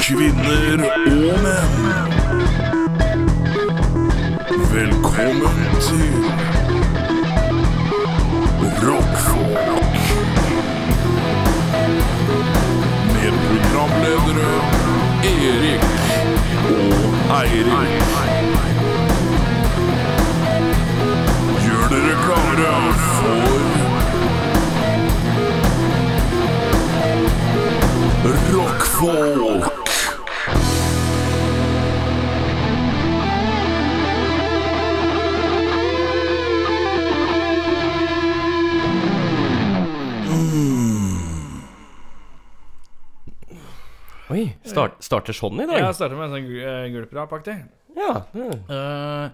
kvinner og menn. Velkommen til Rockfolk. Med programledere Erik og Eirik. Gjør dere klare for Rockfolk. Oi, start, starter sånn i dag? Jeg starter med en sånn gu- eh, gulprap-aktig. Ja. det- Eh,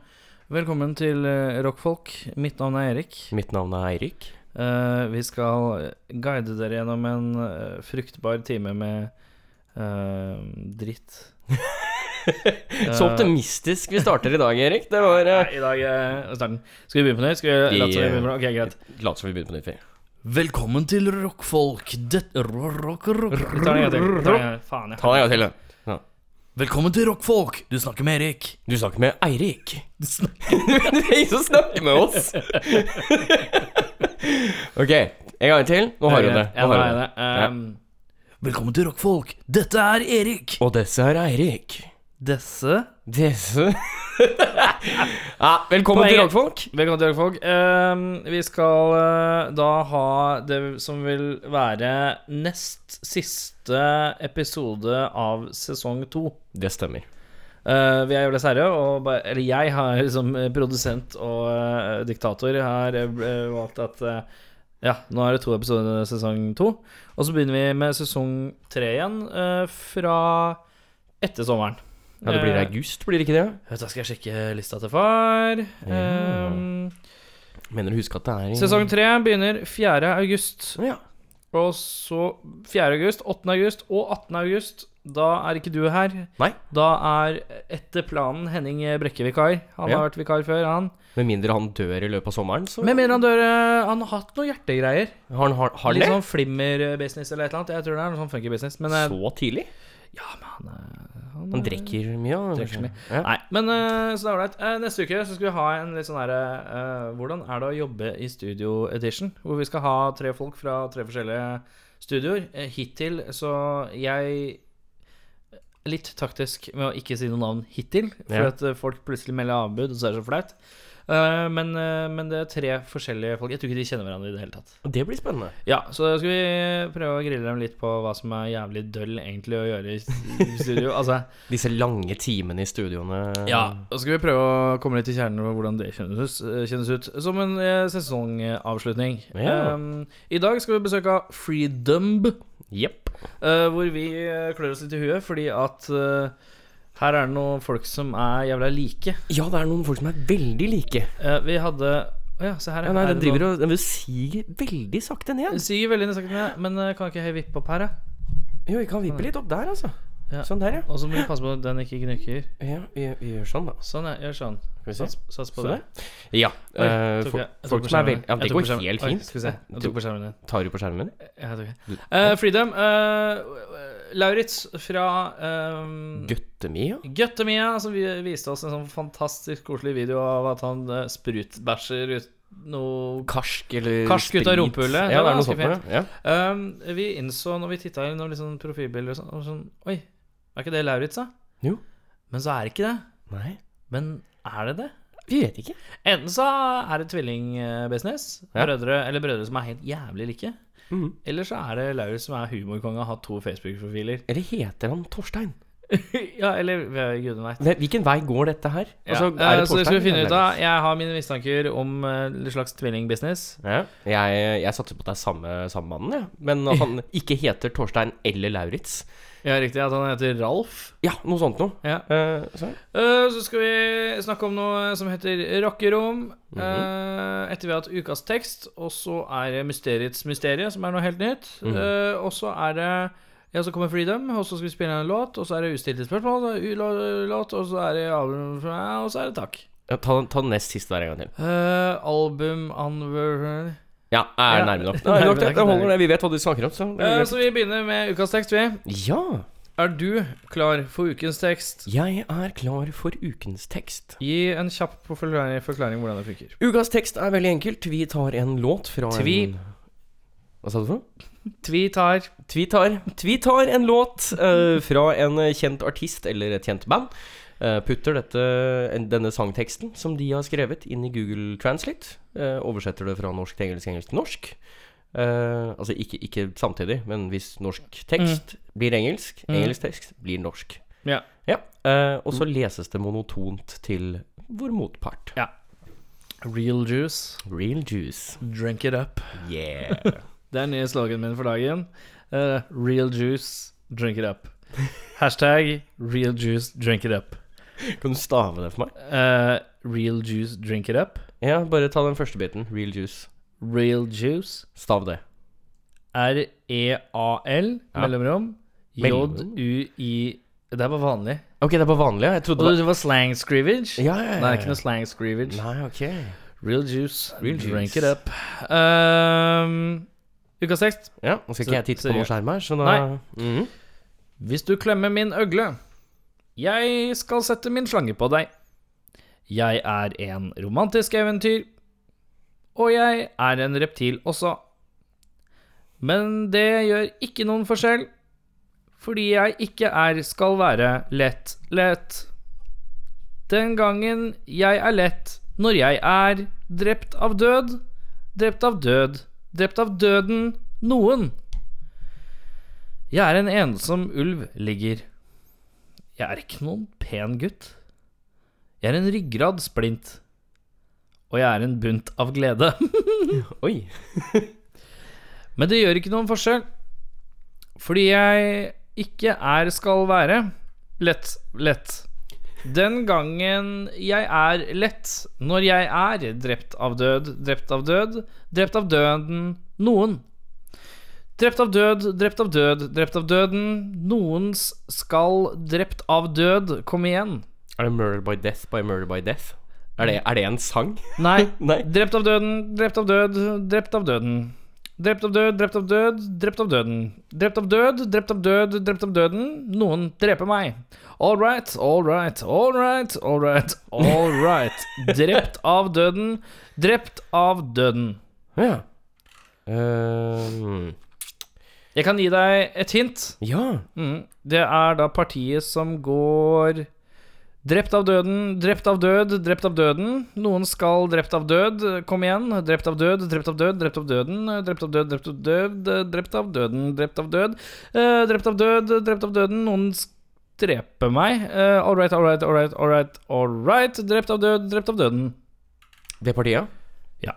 velkommen til eh, Rockfolk. Mitt navn er Erik. Mitt navn er Eirik. Eh, vi skal guide dere gjennom en eh, fruktbar time med eh, dritt. Så optimistisk vi starter i dag, Erik. Det var Nei, eh, I dag er starten. Skal vi begynne på nytt? Skal vi late som vi begynner på nytt? Ok, greit. Lat som vi begynner på nytt. vi. Velkommen til Rockfolk. Dette rock, rock, rock. Vi tar den en gang til. Vi tar den en gang til. Faen, ja. Ta deg en gang til. da. Ja. Velkommen til Rockfolk. Du snakker med Erik. Du snakker med Eirik. Du snakker det er ingen som snakker med oss. ok, en gang til. Nå har du det. Nå Ja, nå har har du det. jeg det. Ehm, Velkommen til Rockfolk. Dette er Erik. Og disse er Eirik. Desse Disse ja, Velkommen til Poenget- Rockfolk. Velkommen til Rockfolk. Ehm, vi skal eh, da ha det som vil være nest siste episode av sesong to. Det stemmer. Eh, vi er Jolis Herre, og ba- eller jeg har som eh, produsent og eh, diktator har eh, valgt at eh, ja, nå er det to episoder i sesong to. Og så begynner vi med sesong tre igjen eh, fra etter sommeren. Ja, Det blir Eh, august, blir det ikke det? Vet du, hva, skal jeg sjekke lista til far. Ja. Ehm, Mener du husker at det er i sesong tre begynner 4. august. Ja. Og så 4. august, 8. august og 18. august. Da er ikke du her. Nei. Da er etter planen Henning Brekke vikar. Han Ja. har vært vikar før, han. Med mindre han dør i løpet av sommeren, så Med mindre han dør eh, Han har hatt noe hjertegreier. Har han har, har han Litt det? sånn flimmer-business eller et eller annet. Jeg tror det er noe sånn funky-business. Men eh, Så tidlig? ja, men han, eh, han, Han eh, drikker mye, ja. Drikker kanskje. mye. Ja. Nei, men eh, så det er ålreit. Eh, neste uke så skal vi ha en litt sånn herre Hvordan er det å jobbe i studio edition? Hvor vi skal ha tre folk fra tre forskjellige studioer. Eh, hittil så jeg Litt taktisk med å ikke si noe navn hittil, for Ja. at eh, folk plutselig melder avbud, og så er det så flaut. Eh, men, eh, men det er tre forskjellige folk. Jeg tror ikke de kjenner hverandre i det hele tatt. Det blir spennende. Ja, så da skal vi prøve å grille dem litt på hva som er jævlig døll egentlig å gjøre i s- studio. altså Disse lange timene i studioene. Ja, Um, da skal vi prøve å komme litt til kjernen over hvordan det kjennes, kjennes ut. Som en eh, sesongavslutning. Ja. Um, I dag skal vi besøke Freedumb, Jepp. eh, hvor vi eh, klør oss litt i huet fordi at eh, her er det noen folk som er jævla like. Ja, det er noen folk som er veldig like. Eh, vi hadde Å ja, se her. Ja, nei, er Den driver og den siger veldig sakte noen- ned. Siger veldig sakte ned, men eh, kan ikke jeg vippe opp her, jeg? Jo, vi kan vippe litt opp der, altså. Ja. Sånn der, ja. Og så må vi passe på at den ikke gnukker. ja vi, vi gjør sånn, da. Sånn, ja. Gjør sånn. Skal vi se. Sats, sats på Så det. der. Ja. Oi, eh, tok folk- jeg- folk jeg tok på som er skjermen. veldig Ja, Jeg det tok på går skjermen. helt Oi, fint. Skal vi se. Jeg tok på skjermen din. Tar du på skjermen din? Jeg tok det. Du- Eh, freedom. eh, Lauritz fra um, Guttemia? ja. Guttemia, som vi viste oss en sånn fantastisk koselig video av at han eh, sprutbæsjer ut noe Karsk eller Karsk ut av sprit. Ja, rumpehullet. Det det er var noe ganske sånt noe. Ja. um, Vi innså når vi titta gjennom litt sånn profilbilder og sånn, og sånn Oi, er ikke det Lauritz, da? Jo. Men så er det ikke det. Nei, Men er det det? vi vet ikke. Enten så er det tvillingbusiness, Ja. brødre, eller brødre som er helt jævlig like. Mhm. Eller så er det Lauritz som er humorkonge og har hatt to Facebook-profiler. Eller heter han Torstein? ja, eller eh, gudene veit. Hvem- Hvilken vei går dette her? Ja. Altså, eh, er det så det skal vi Torstein finne ut eller av. Jeg har mine mistanker om eh, en slags tvillingbusiness. Ja. Jeg, jeg satser på at det er samme, samme mannen, jeg. Men at han ikke heter Torstein eller Lauritz. Ja, riktig. At han heter Ralf. Ja, noe sånt noe. Ja. Eh, så. Eh, så skal vi snakke om noe som heter rockerom. Mhm. eh, etter vi har hatt ukas tekst, og så er det Mysteriets mysterium, som er noe helt nytt. Mhm. Eh, og så er det ja, så kommer Freedom, og så skal vi spille en låt, og så er det ustilte spørsmål, så er det u- låt, og så er det album fra meg, og så er det takk. Ja, ta, ta den nest siste der en gang til. Eh, album anver... Ja, er Ja. nærme nok. Nærme Nærme nok det. nok, det holder nærme. det. Vi vet hva du snakker om, så, det Eh, er så vi begynner med ukas tekst, vi. greit. Ja. Eh, Er du klar for ukens tekst? Jeg er klar for ukens tekst. Gi en kjapp forklar- forklaring hvordan det funker. Ukas tekst er veldig enkelt. Vi tar en låt fra Tvi. en Hva sa du for noe? Tvi tar Vi tar, vi tar en låt eh, fra en eh, kjent artist eller et kjent band. eh, putter dette, en- denne sangteksten som de har skrevet, inn i Google Translate. eh, oversetter det fra norsk til engelsk, engelsk til norsk. Eh, altså ikke, ikke samtidig, men hvis norsk tekst blir engelsk, engelsk tekst blir norsk. Ja. Ja, eh, Og så leses det monotont til vår motpart. Real juice. Real juice. Drink it up. Yeah. Det er nye slogan min for dagen. Eh, real juice, drink it up. Hashtag real juice, drink it up. kan du stave det for meg? Eh, real juice, drink it up. Ja, bare ta den første biten. Real juice. Real juice. Stav det. R-E-A-L, Ja. mellomrom. Mellomrom. J-U-I Det er bare vanlig. Ok, det er bare vanlig. ja. Jeg trodde Og det var det var slang scrivage. Ja, ja, ja. Nei, ikke noe slang scrivage. Nei, ok. Real juice, Real drink juice. it up. Um, Ukas tekst. Ja, nå skal Så- ikke jeg titte så på noen gjør- skjerm her, så da Nei. Mhm. Hvis du klemmer min øgle Jeg skal sette min slange på deg Jeg er en romantisk eventyr Og jeg er en reptil også Men det gjør ikke noen forskjell Fordi jeg ikke er skal være lett, lett Den gangen jeg er lett Når jeg er drept av død Drept av død Drept av døden Noen jeg er en ensom ulv ligger. Jeg er ikke noen pen gutt. Jeg er en ryggrad splint. Og jeg er en bunt av glede. Oi. Men det gjør ikke noen forskjell. Fordi jeg ikke er skal være lett, lett. Den gangen jeg er lett, når jeg er drept av død, drept av død, drept av døden, noen. Drept av død, drept av død, drept av døden, noens skal drept av død, kom igjen. Er det 'Murder by Death by Murder by Death'? Er det, er det en sang? Nei. Nei. Drept av døden, drept av død, drept av døden. Drept av død, drept av død, drept av døden. Drept av død, drept av død, drept av døden. Noen dreper meg. All right, all right, all right, all right, all right. Drept av døden, drept av døden. Ja. Ehm, Jeg kan gi deg et hint. ja. Mm. Det er da partiet som går Drept av døden, drept av død, drept av døden. Noen skal drept av død. Kom igjen. Drept av død, drept av død, drept av døden. Drept av død, drept av død, drept av døden, drept av død. Eh, drept av død, drept av døden. Noen s- dreper meg. Eh, all right, all right, all right, all right, all right. Drept av død, drept av døden. Det partiet? Ja.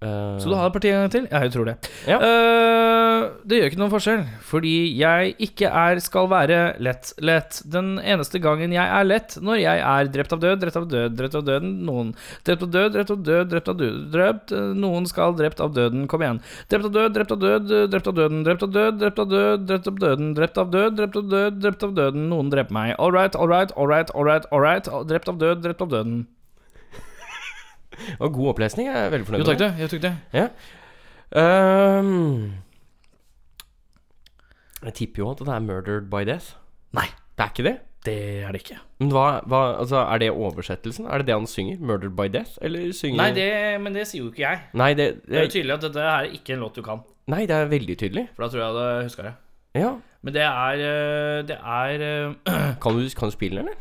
Eh, Så du har partiet en gang til? Ja, jeg tror det. Ja. Eh, det gjør ikke noen forskjell, fordi jeg ikke er skal være lett, lett. Den eneste gangen jeg er lett, når jeg er drept av død, drept av død, drept av døden, noen. Drept av død, drept av død, drept av død, drept, eh, noen skal drept av døden, kom igjen. Drept av død, drept av død, eh, drept av døden, drept av død, drept av død, drept av døden, drept av død, drept av død, drept av døden, noen dreper meg. All right, all right, all right, all right, all right, drept av død, drept av døden. det var God opplesning, jeg er veldig fornøyd Jo, takk det, jo, takk det. Ehm, jeg tipper jo at det er 'Murdered by Death'. Nei. Det er ikke det? Det er det ikke. Men hva, hva altså, Er det oversettelsen? Er det det han synger? 'Murdered by Death'? Eller synger Nei, det, men det sier jo ikke jeg. Nei, det, Det er jo det, tydelig at dette her er ikke en låt du kan, nei, det er veldig tydelig. for da tror jeg jeg hadde huska det. Ja. Men det er øh, Det er øh, Kan du, kan du spille den, eller?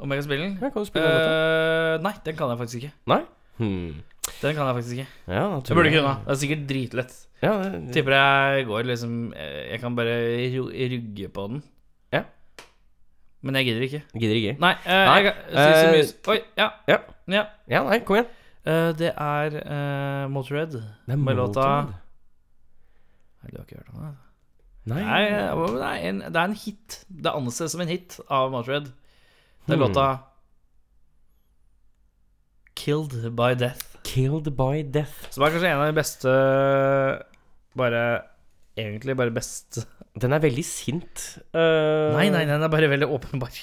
Om jeg kan spille den? Ja, kan du spille den? Øh, nei, den kan jeg faktisk ikke. Nei? Hmm. Den kan jeg faktisk ikke. Ja, da Jeg burde kunne. Det er sikkert dritlett. Ja, det, Tipper jeg går liksom øh, Jeg kan bare ru- rugge på den. Ja. Men jeg gidder ikke. gidder ikke. Nei, øh, Nei, jeg kan si så mye øh, s- Oi, ja. ja. ja. Ja, nei, kom igjen. Øh, det er øh, Motorhead. Det er Med låta Molotov. Nei, Du har ikke hørt om det? Nei. Nei, eh, det er en, det er en hit. Det anses som en hit av Motörhead. Det er Hmm. låta Killed by Death. Killed by Death. Som er kanskje en av de beste eh, Bare Egentlig bare best eh, Den er veldig sint. Eh, Nei, nei, nei, den er bare veldig åpenbar.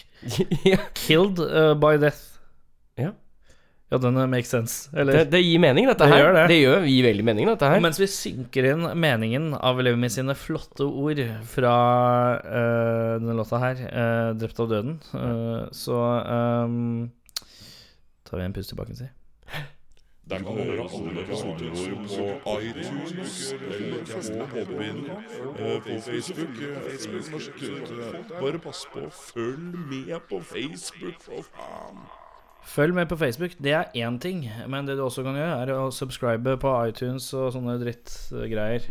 ja. Killed uh, by Death. Ja. eh, Ja, den eh, makes sense. Eller Det, det gir mening, dette Det her. gjør det. gjør gir veldig mening, dette Og her. mens vi synker inn meningen av Lemmy sine flotte ord fra eh, denne låta her, eh, 'Drept av døden', eh, så ehm, tar vi en pust i bakken, si. Der kan du høre alle episoder våre på iTunes eller på Podbean, eh, på Facebook. eh, Facebook norsk, eh, Bare pass på, følg med på Facebook, for faen! Følg med på Facebook, det er én ting. Men det du også kan gjøre, er å subscribe på iTunes og sånne drittgreier.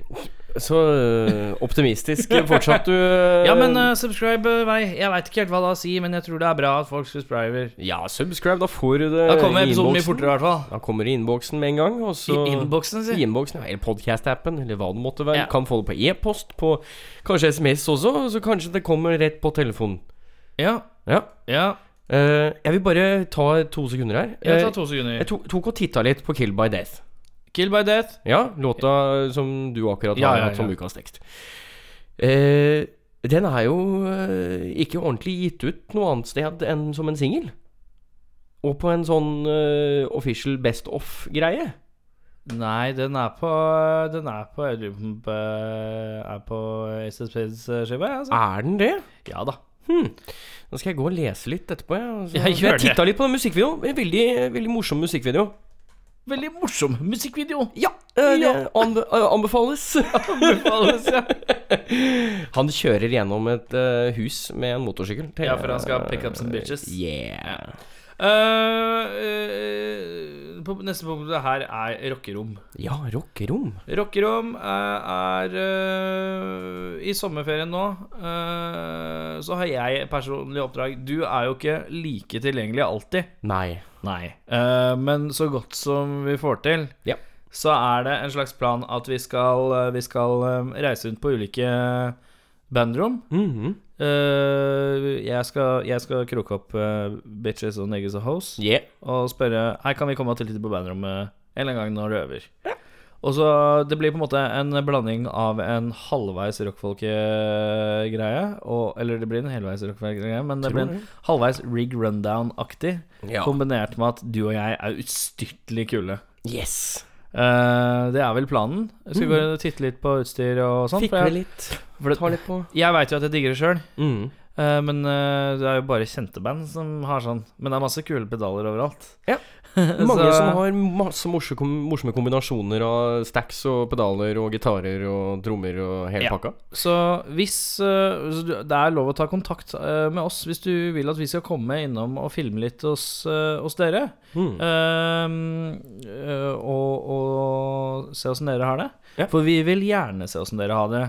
Så øh, optimistisk fortsatt, du. øh, Ja, men eh, subscribe eh, vei. Jeg veit ikke helt hva det har å si, men jeg tror det er bra at folk subscriber. Ja, subscribe. Da får du det Da kommer i episoden mye innboksen. fortere, i hvert fall. Da kommer det i innboksen med en gang. Og så I I innboksen, si. innboksen, ja, eller podcast-appen, eller hva det måtte være. Ja. Kan få det på e-post, på kanskje SMS også, og så kanskje det kommer rett på telefonen. Ja. Ja. Ja. Eh, jeg vil bare ta to sekunder her. Jeg tar Eh, to sekunder. jeg to, tok og titta litt på Kill by Death. Kill by death. Ja, låta som du akkurat har Ja, ja, hatt som ja. ukas tekst. Eh, den er jo eh, ikke ordentlig gitt ut noe annet sted enn som en singel. Og på en sånn eh, official best off-greie. Nei, den er på Den er på Jeg lurer på om den Er på Ace of Spades-skiva, jeg, altså. Er den det? Ja da. Hmm. Nå skal jeg gå og lese litt etterpå. Jeg, og så- Ja, gjør jeg titta litt på den musikkvideoen. En veldig, veldig morsom musikkvideo. Veldig morsom musikkvideo. Ja! eh, Ja. Det anbe eh, anbefales. Anbefales, ja. Han kjører gjennom et eh, hus med en motorsykkel. til- Ja, for han skal pick up some bitches. Yeah. Eh, eh, på- neste punkt her er rockerom. Ja, rockerom. Rockerom eh, er eh, I sommerferien nå eh, så har jeg personlig oppdrag. Du er jo ikke like tilgjengelig alltid. Nei. Nei. Eh, men så godt som vi får til, Ja. så er det en slags plan at vi skal, eh, vi skal eh, reise rundt på ulike bandrom. Mhm. Eh, jeg, skal, jeg skal kroke opp eh, bitches og niggas og hoes Yeah. og spørre Hei, kan vi komme og tiltitte på bandrommet en eller annen gang når du øver? Og så Det blir på en måte en blanding av en halvveis rockfolkegreie og Eller det blir en helveis rockfolkegreie, men det Tror blir en det. halvveis rig rundown-aktig. Ja. Kombinert med at du og jeg er ustyrtelig kule. Yes. Eh, det er vel planen. Jeg skal gå og titte litt på utstyr og sånn. For Fikle jeg, Mm. litt. for Ta det, litt på. jeg veit jo at jeg digger det sjøl, Mm. men eh, det er jo bare kjente band som har sånn. Men det er masse kule pedaler overalt. Ja. Mange som har masse morse, kom- morsomme kombinasjoner av stacks og pedaler og gitarer og trommer og hele Ja. pakka. Så hvis eh, så du- Det er lov å ta kontakt eh, med oss hvis du vil at vi skal komme innom og filme litt hos, eh, hos dere. Mm. Eh, eh, og, og se åssen dere har det. Ja. For vi vil gjerne se åssen dere har det.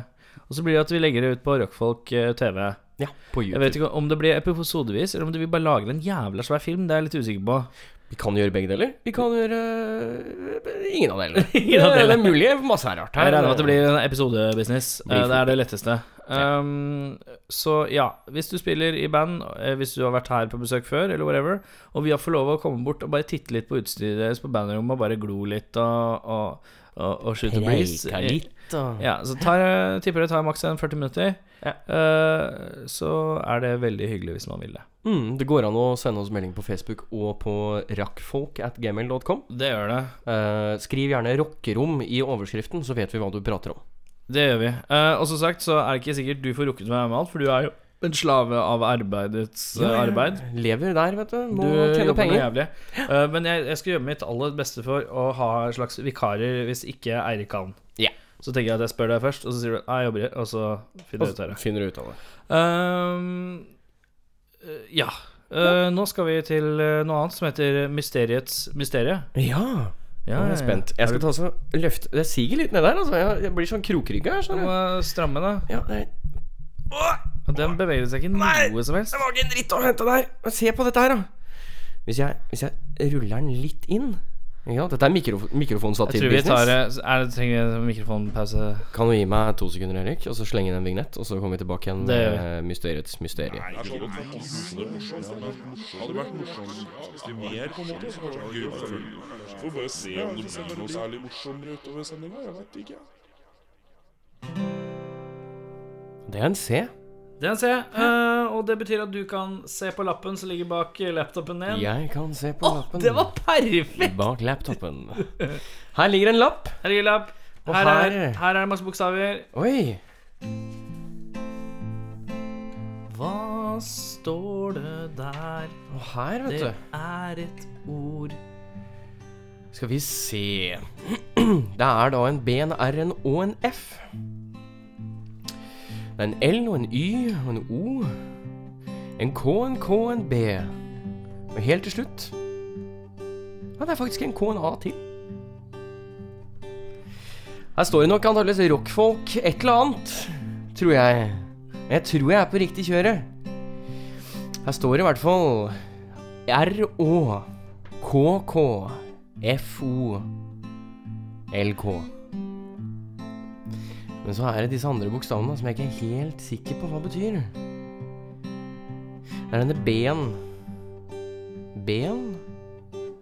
Og så blir det at vi legger det ut på Rockfolk eh, TV. Ja, på Jeg YouTube. vet ikke om det blir episodevis, eller om vi bare lager en jævla svær film. Det er jeg litt usikker på. Vi kan gjøre begge deler. Vi kan gjøre øh, ingen av delene. Ingen av Det- Det delene. er mulig. Masse er rart her. Jeg regner med at det blir en episodebusiness. Blir Eh, Det er eh, det letteste. Um, så ja, hvis du spiller i band, eh, hvis du har vært her på besøk før, eller whatever, og vi har fått lov å komme bort og bare titte litt på utstyret deres på bandrommet, og bare glo litt og, og, og, og skyte breeze Preika litt og Ja, så tar, jeg- tipper det tar maks en 40 minutter. Ja. Eh, så er det veldig hyggelig hvis man vil det. mm, Det går an å sende oss melding på Facebook og på rakkfolk at gmail.com. Det gjør det. Eh, skriv gjerne 'rockerom' i overskriften, så vet vi hva du prater om. Det gjør vi. Eh, og som sagt så er det ikke sikkert du får rukket å være med alt, for du er jo en slave av arbeidets eh, arbeid. Lever der, vet du. Må Du tjene jobber noe penger. jævlig. Eh, men jeg, jeg skal gjøre mitt aller beste for å ha en slags vikarer hvis ikke Eirik kan. Ja. Så tenker jeg at jeg spør deg først, og så sier du «Nei, jeg jobber, i», og så finner jeg ut av det. Finner du ut av det. Ehm, eh, ja. Eh, nå skal vi til eh, noe annet som heter Mysteriets mysterium. Ja. Ja, Nå er jeg spent. Jeg skal ta så løfte Det siger litt ned der, altså. Jeg, jeg blir sånn krokrygga her. Du Sånn. må stramme deg. Ja, det Den beveger seg ikke noe som helst. Det var ikke en dritt å hente der. Men Se på dette her, da. Hvis jeg, hvis jeg ruller den litt inn Ja, dette er mikrof Jeg tror vi tar mikrofonstativ-business. eh, er det, Trenger vi en mikrofonpause? Kan du gi meg to sekunder, Erik, og så slenge inn en vignett, og så kommer vi tilbake igjen Det gjør med eh, mysteriets mysterium? Det er sånn at det hadde vært morsomt. Det hadde vært morsomt til mer, på en måte. så hadde det vært gøy å følge. Får bare se om det blir noe særlig morsommere utover sendinga. Jeg vet ikke. Det er en C. Den ser jeg. eh, og det betyr at du kan se på lappen som ligger bak laptopen din. Jeg kan se på Åh, lappen det var perfekt! bak laptopen. Her ligger en lapp. Her ligger lapp. Og Her er, her- her er det masse bokstaver. Oi. Hva står det der? Og her, vet Det du. er et ord. Skal vi se Det er da en B, en R, en Å, en F. Det er en L og en Y og en O. En K, en K, en B. Og helt til slutt Ja, det er faktisk en K og en A til. Her står det nok antakeligvis rockfolk, et eller annet, tror jeg. Men jeg tror jeg er på riktig kjøret. Her står det i hvert fall R-Å. KK FOLK. Men så er det disse andre bokstavene som jeg ikke er helt sikker på hva betyr. Det er denne B-en. B-en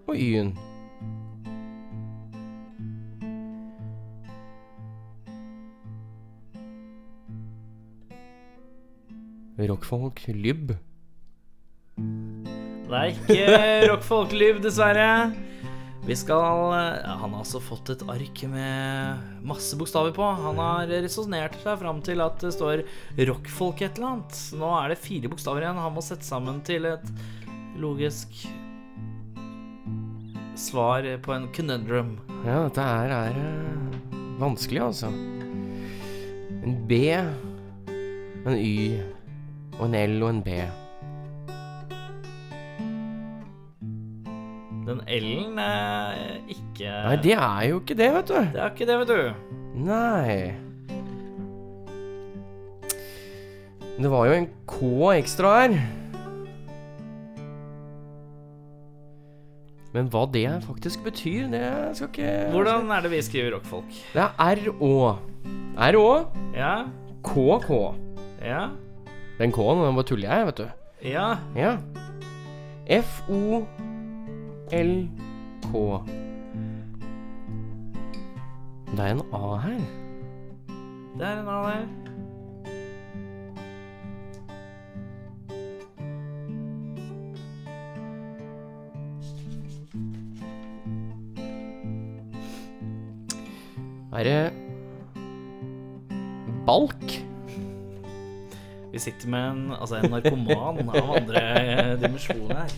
og Y-en. Rockfolk, lybb. Det er ikke rockfolkliv, dessverre. Vi skal eh, Han har altså fått et ark med masse bokstaver på. Han har resonnert seg fram til at det står rockfolk et eller annet. Nå er det fire bokstaver igjen. Han må sette sammen til et logisk svar på en conundrum. Ja, dette her er eh, vanskelig, altså. En B, en Y, og en L og en B. Den L-en er ikke Nei, det er jo ikke det, vet du. Det er ikke det, vet du. Nei. Men Det var jo en K ekstra her. Men hva det faktisk betyr, det skal ikke Hvordan er det vi skriver rockfolk? Det er R-Å. R-Å, Ja, K-K. ja, Den K-en, den bare tuller jeg, vet du. ja. Ja. F-O-L-K. Det er en A her. Det er en A der. Er det Balk? Vi sitter med en, altså en narkoman av andre eh, dimensjoner her.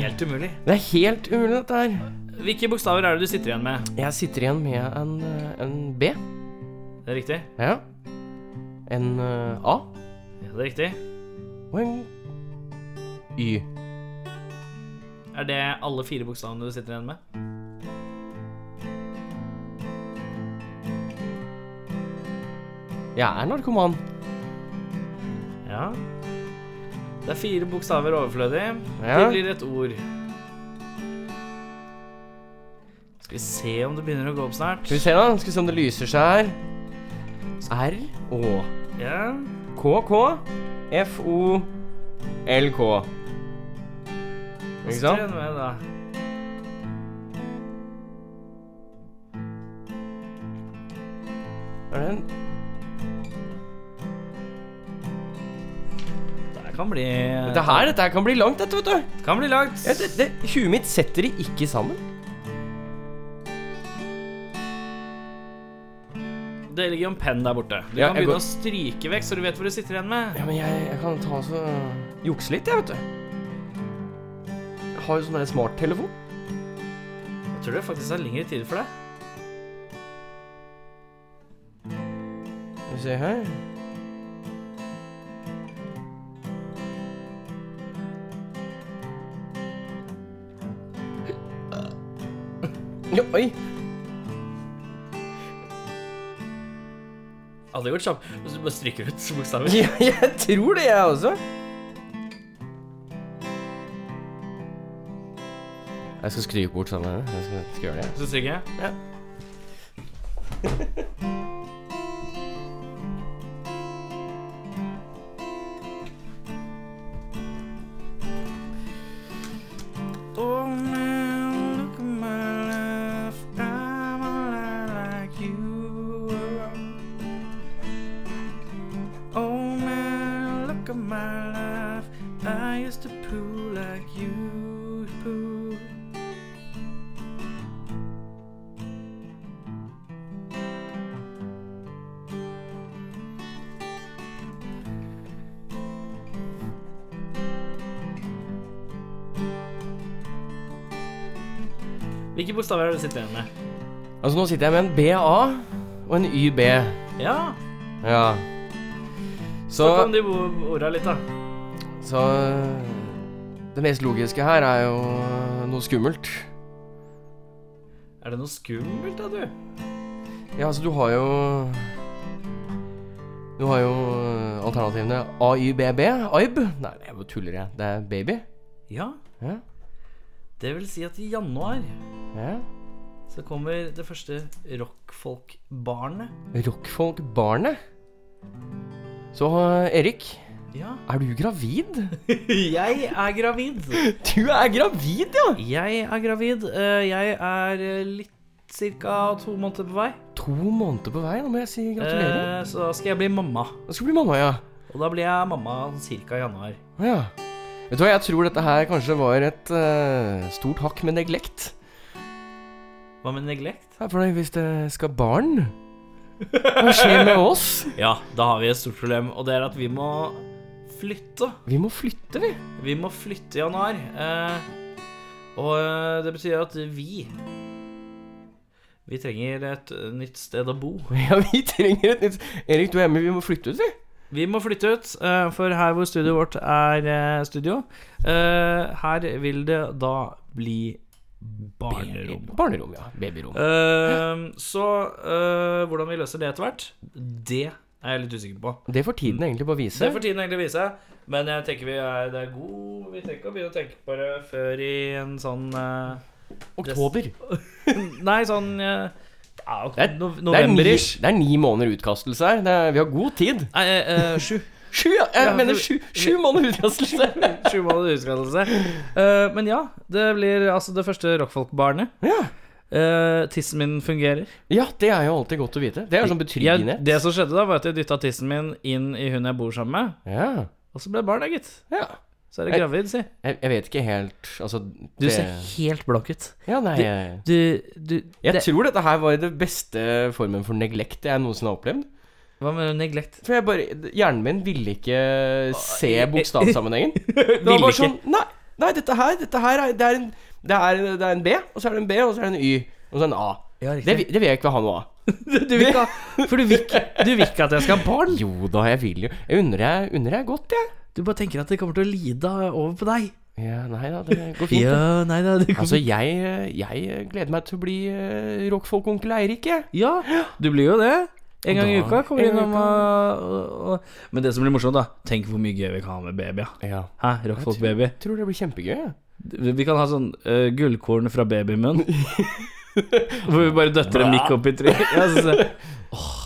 Helt umulig. Det er helt umulig, dette her. Hvilke bokstaver er det du sitter igjen med? Jeg sitter igjen med en, eh, en B. Det er riktig. Ja. En eh, A Ja, det er riktig. og en Y. Er det alle fire bokstavene du sitter igjen med? Jeg er narkoman. Ja. Det er fire bokstaver overflødig. Det Ja. blir et ord. Skal vi se om det begynner å gå opp snart. Skal vi se, da. Skal vi se om det lyser seg her. R-Å. Ja. KK FO LK. Ikke Sitter sant? igjen med, da. Er det en Det kan bli Dette her dette her kan bli langt, dette, vet du. Det kan bli langt. Ja, det, det, huet mitt setter det ikke sammen. Det ligger jo en penn der borte. Du Ja, kan jeg begynne går- å stryke vekk, så du vet hvor du sitter igjen med. Ja, men jeg, jeg kan ta og så jukse litt, jeg, vet du. Jeg har jo sånn der smarttelefon. Jeg tror det faktisk er lengre tid for deg. Skal vi se her. Ja, oi. Hadde gjort kjapt hvis du bare stryker ut bokstaver. Ja, jeg tror det, jeg også. Jeg skal skrive bort sammen med Jeg skal, skal gjøre det. Så stryker jeg. Ja. Oh man, Hvilke bokstaver er det du sitter igjen med? Altså, nå sitter jeg med en BA og en YB. Ja, Ja. Så snakk om de bo- orda litt, da. Så øh, det mest logiske her er jo øh, noe skummelt. Er det noe skummelt, da, du? Ja, altså du har jo Du har jo øh, alternativene AYBB. AIB. Nei, jeg bare tuller, jeg. Det er baby. Ja, Ja. det vil si at i januar ja. så kommer det første rockfolk-barnet. Rockfolk-barnet. Så øh, Erik, Ja. er du gravid? Jeg er gravid. Du er gravid, ja! Jeg er gravid. Eh, Jeg er eh, litt Cirka to måneder på vei. To måneder på vei, nå må jeg si gratulerer. Eh, Så da skal jeg bli mamma. Da skal du bli mamma, ja. Og da blir jeg mamma cirka i januar. Ja. Vet du hva, jeg tror dette her kanskje var et øh, stort hakk med neglekt. Hva med neglekt? Ja, for det, hvis det skal barn Hva skjer med oss? Ja, da har vi et stort problem, og det er at vi må flytte. Vi må flytte, vi. Vi må flytte i januar. Eh, og eh, det betyr at vi Vi trenger et eh, nytt sted å bo. Ja, vi trenger et nytt Erik, du er hjemme. Vi må flytte ut, vi. Vi må flytte ut, eh, for her hvor studioet vårt er eh, studio, eh, her vil det da bli barnerom. Barnerom, ja. Babyrom. Eh, så eh, hvordan vi løser det etter hvert, det er jeg litt usikker på. Det Mm. får tiden egentlig bare vise. Det får tiden egentlig vise. Men jeg tenker vi er, det er god Vi trenger ikke å begynne å tenke på det før i en sånn eh, Oktober. Nei, sånn eh, ja, ok, Det er- no, Det er, ni, November-ish. det er ni måneder utkastelse her. Det er, vi har god tid. Nei, eh, eh, sju. Sju, ja. Jeg Ja, mener for- sju, sju måneder utkastelse. Sju måneder utskadelse. Eh, men ja, det blir altså det første rockfolk-barnet. Ja. Eh, tissen min fungerer. ja, det er jo alltid godt å vite. Det er jo sånn Jeg, betryggende. det som skjedde da, var at jeg dytta tissen min inn i hun jeg bor sammen med, Ja. og så ble det barn, da, gitt. ja. Så er det gravid, si. Jeg, jeg vet ikke helt Altså Du det- ser helt blakk ut. Ja, nei jeg- Du, du Jeg det, tror dette her var den beste formen for neglekt jeg noensinne har opplevd. Hva med neglekt? For jeg bare, hjernen min ville ikke se bokstavsammenhengen. Det var Ville bare ikke. sånn Nei, nei dette her, dette her er, det, er en, det, er, det er en B, og så er det en B, og så er det en Y, og så er det en A. Ja, Det, vil- det vil jeg ikke ha noe av. Du vil ikke ha For du vil ikke, du vil ikke at jeg skal ha barn. Jo da, jeg vil jo Jeg unner jeg, unner jeg godt, jeg. Du bare tenker at det kommer til å lide over på deg. Ja, nei da, det går fint. det. Ja, nei da, det kommer Altså, jeg, jeg gleder meg til å bli eh, rockfolk-onkel Eirik, jeg. Ja, du blir jo det. En gang i Da- uka kommer en vi gang i innom og, og, og Men det som blir morsomt, da Tenk hvor mye gøy vi kan ha med babyer. Ja. Hæ, Rockfolk-baby. Jeg tror det blir kjempegøy. jeg. Eh. Vi kan ha sånn eh, gullkorn fra babymunn. Hvor vi bare døtter en mikk opp i trynet. Ja, så, så. Åh,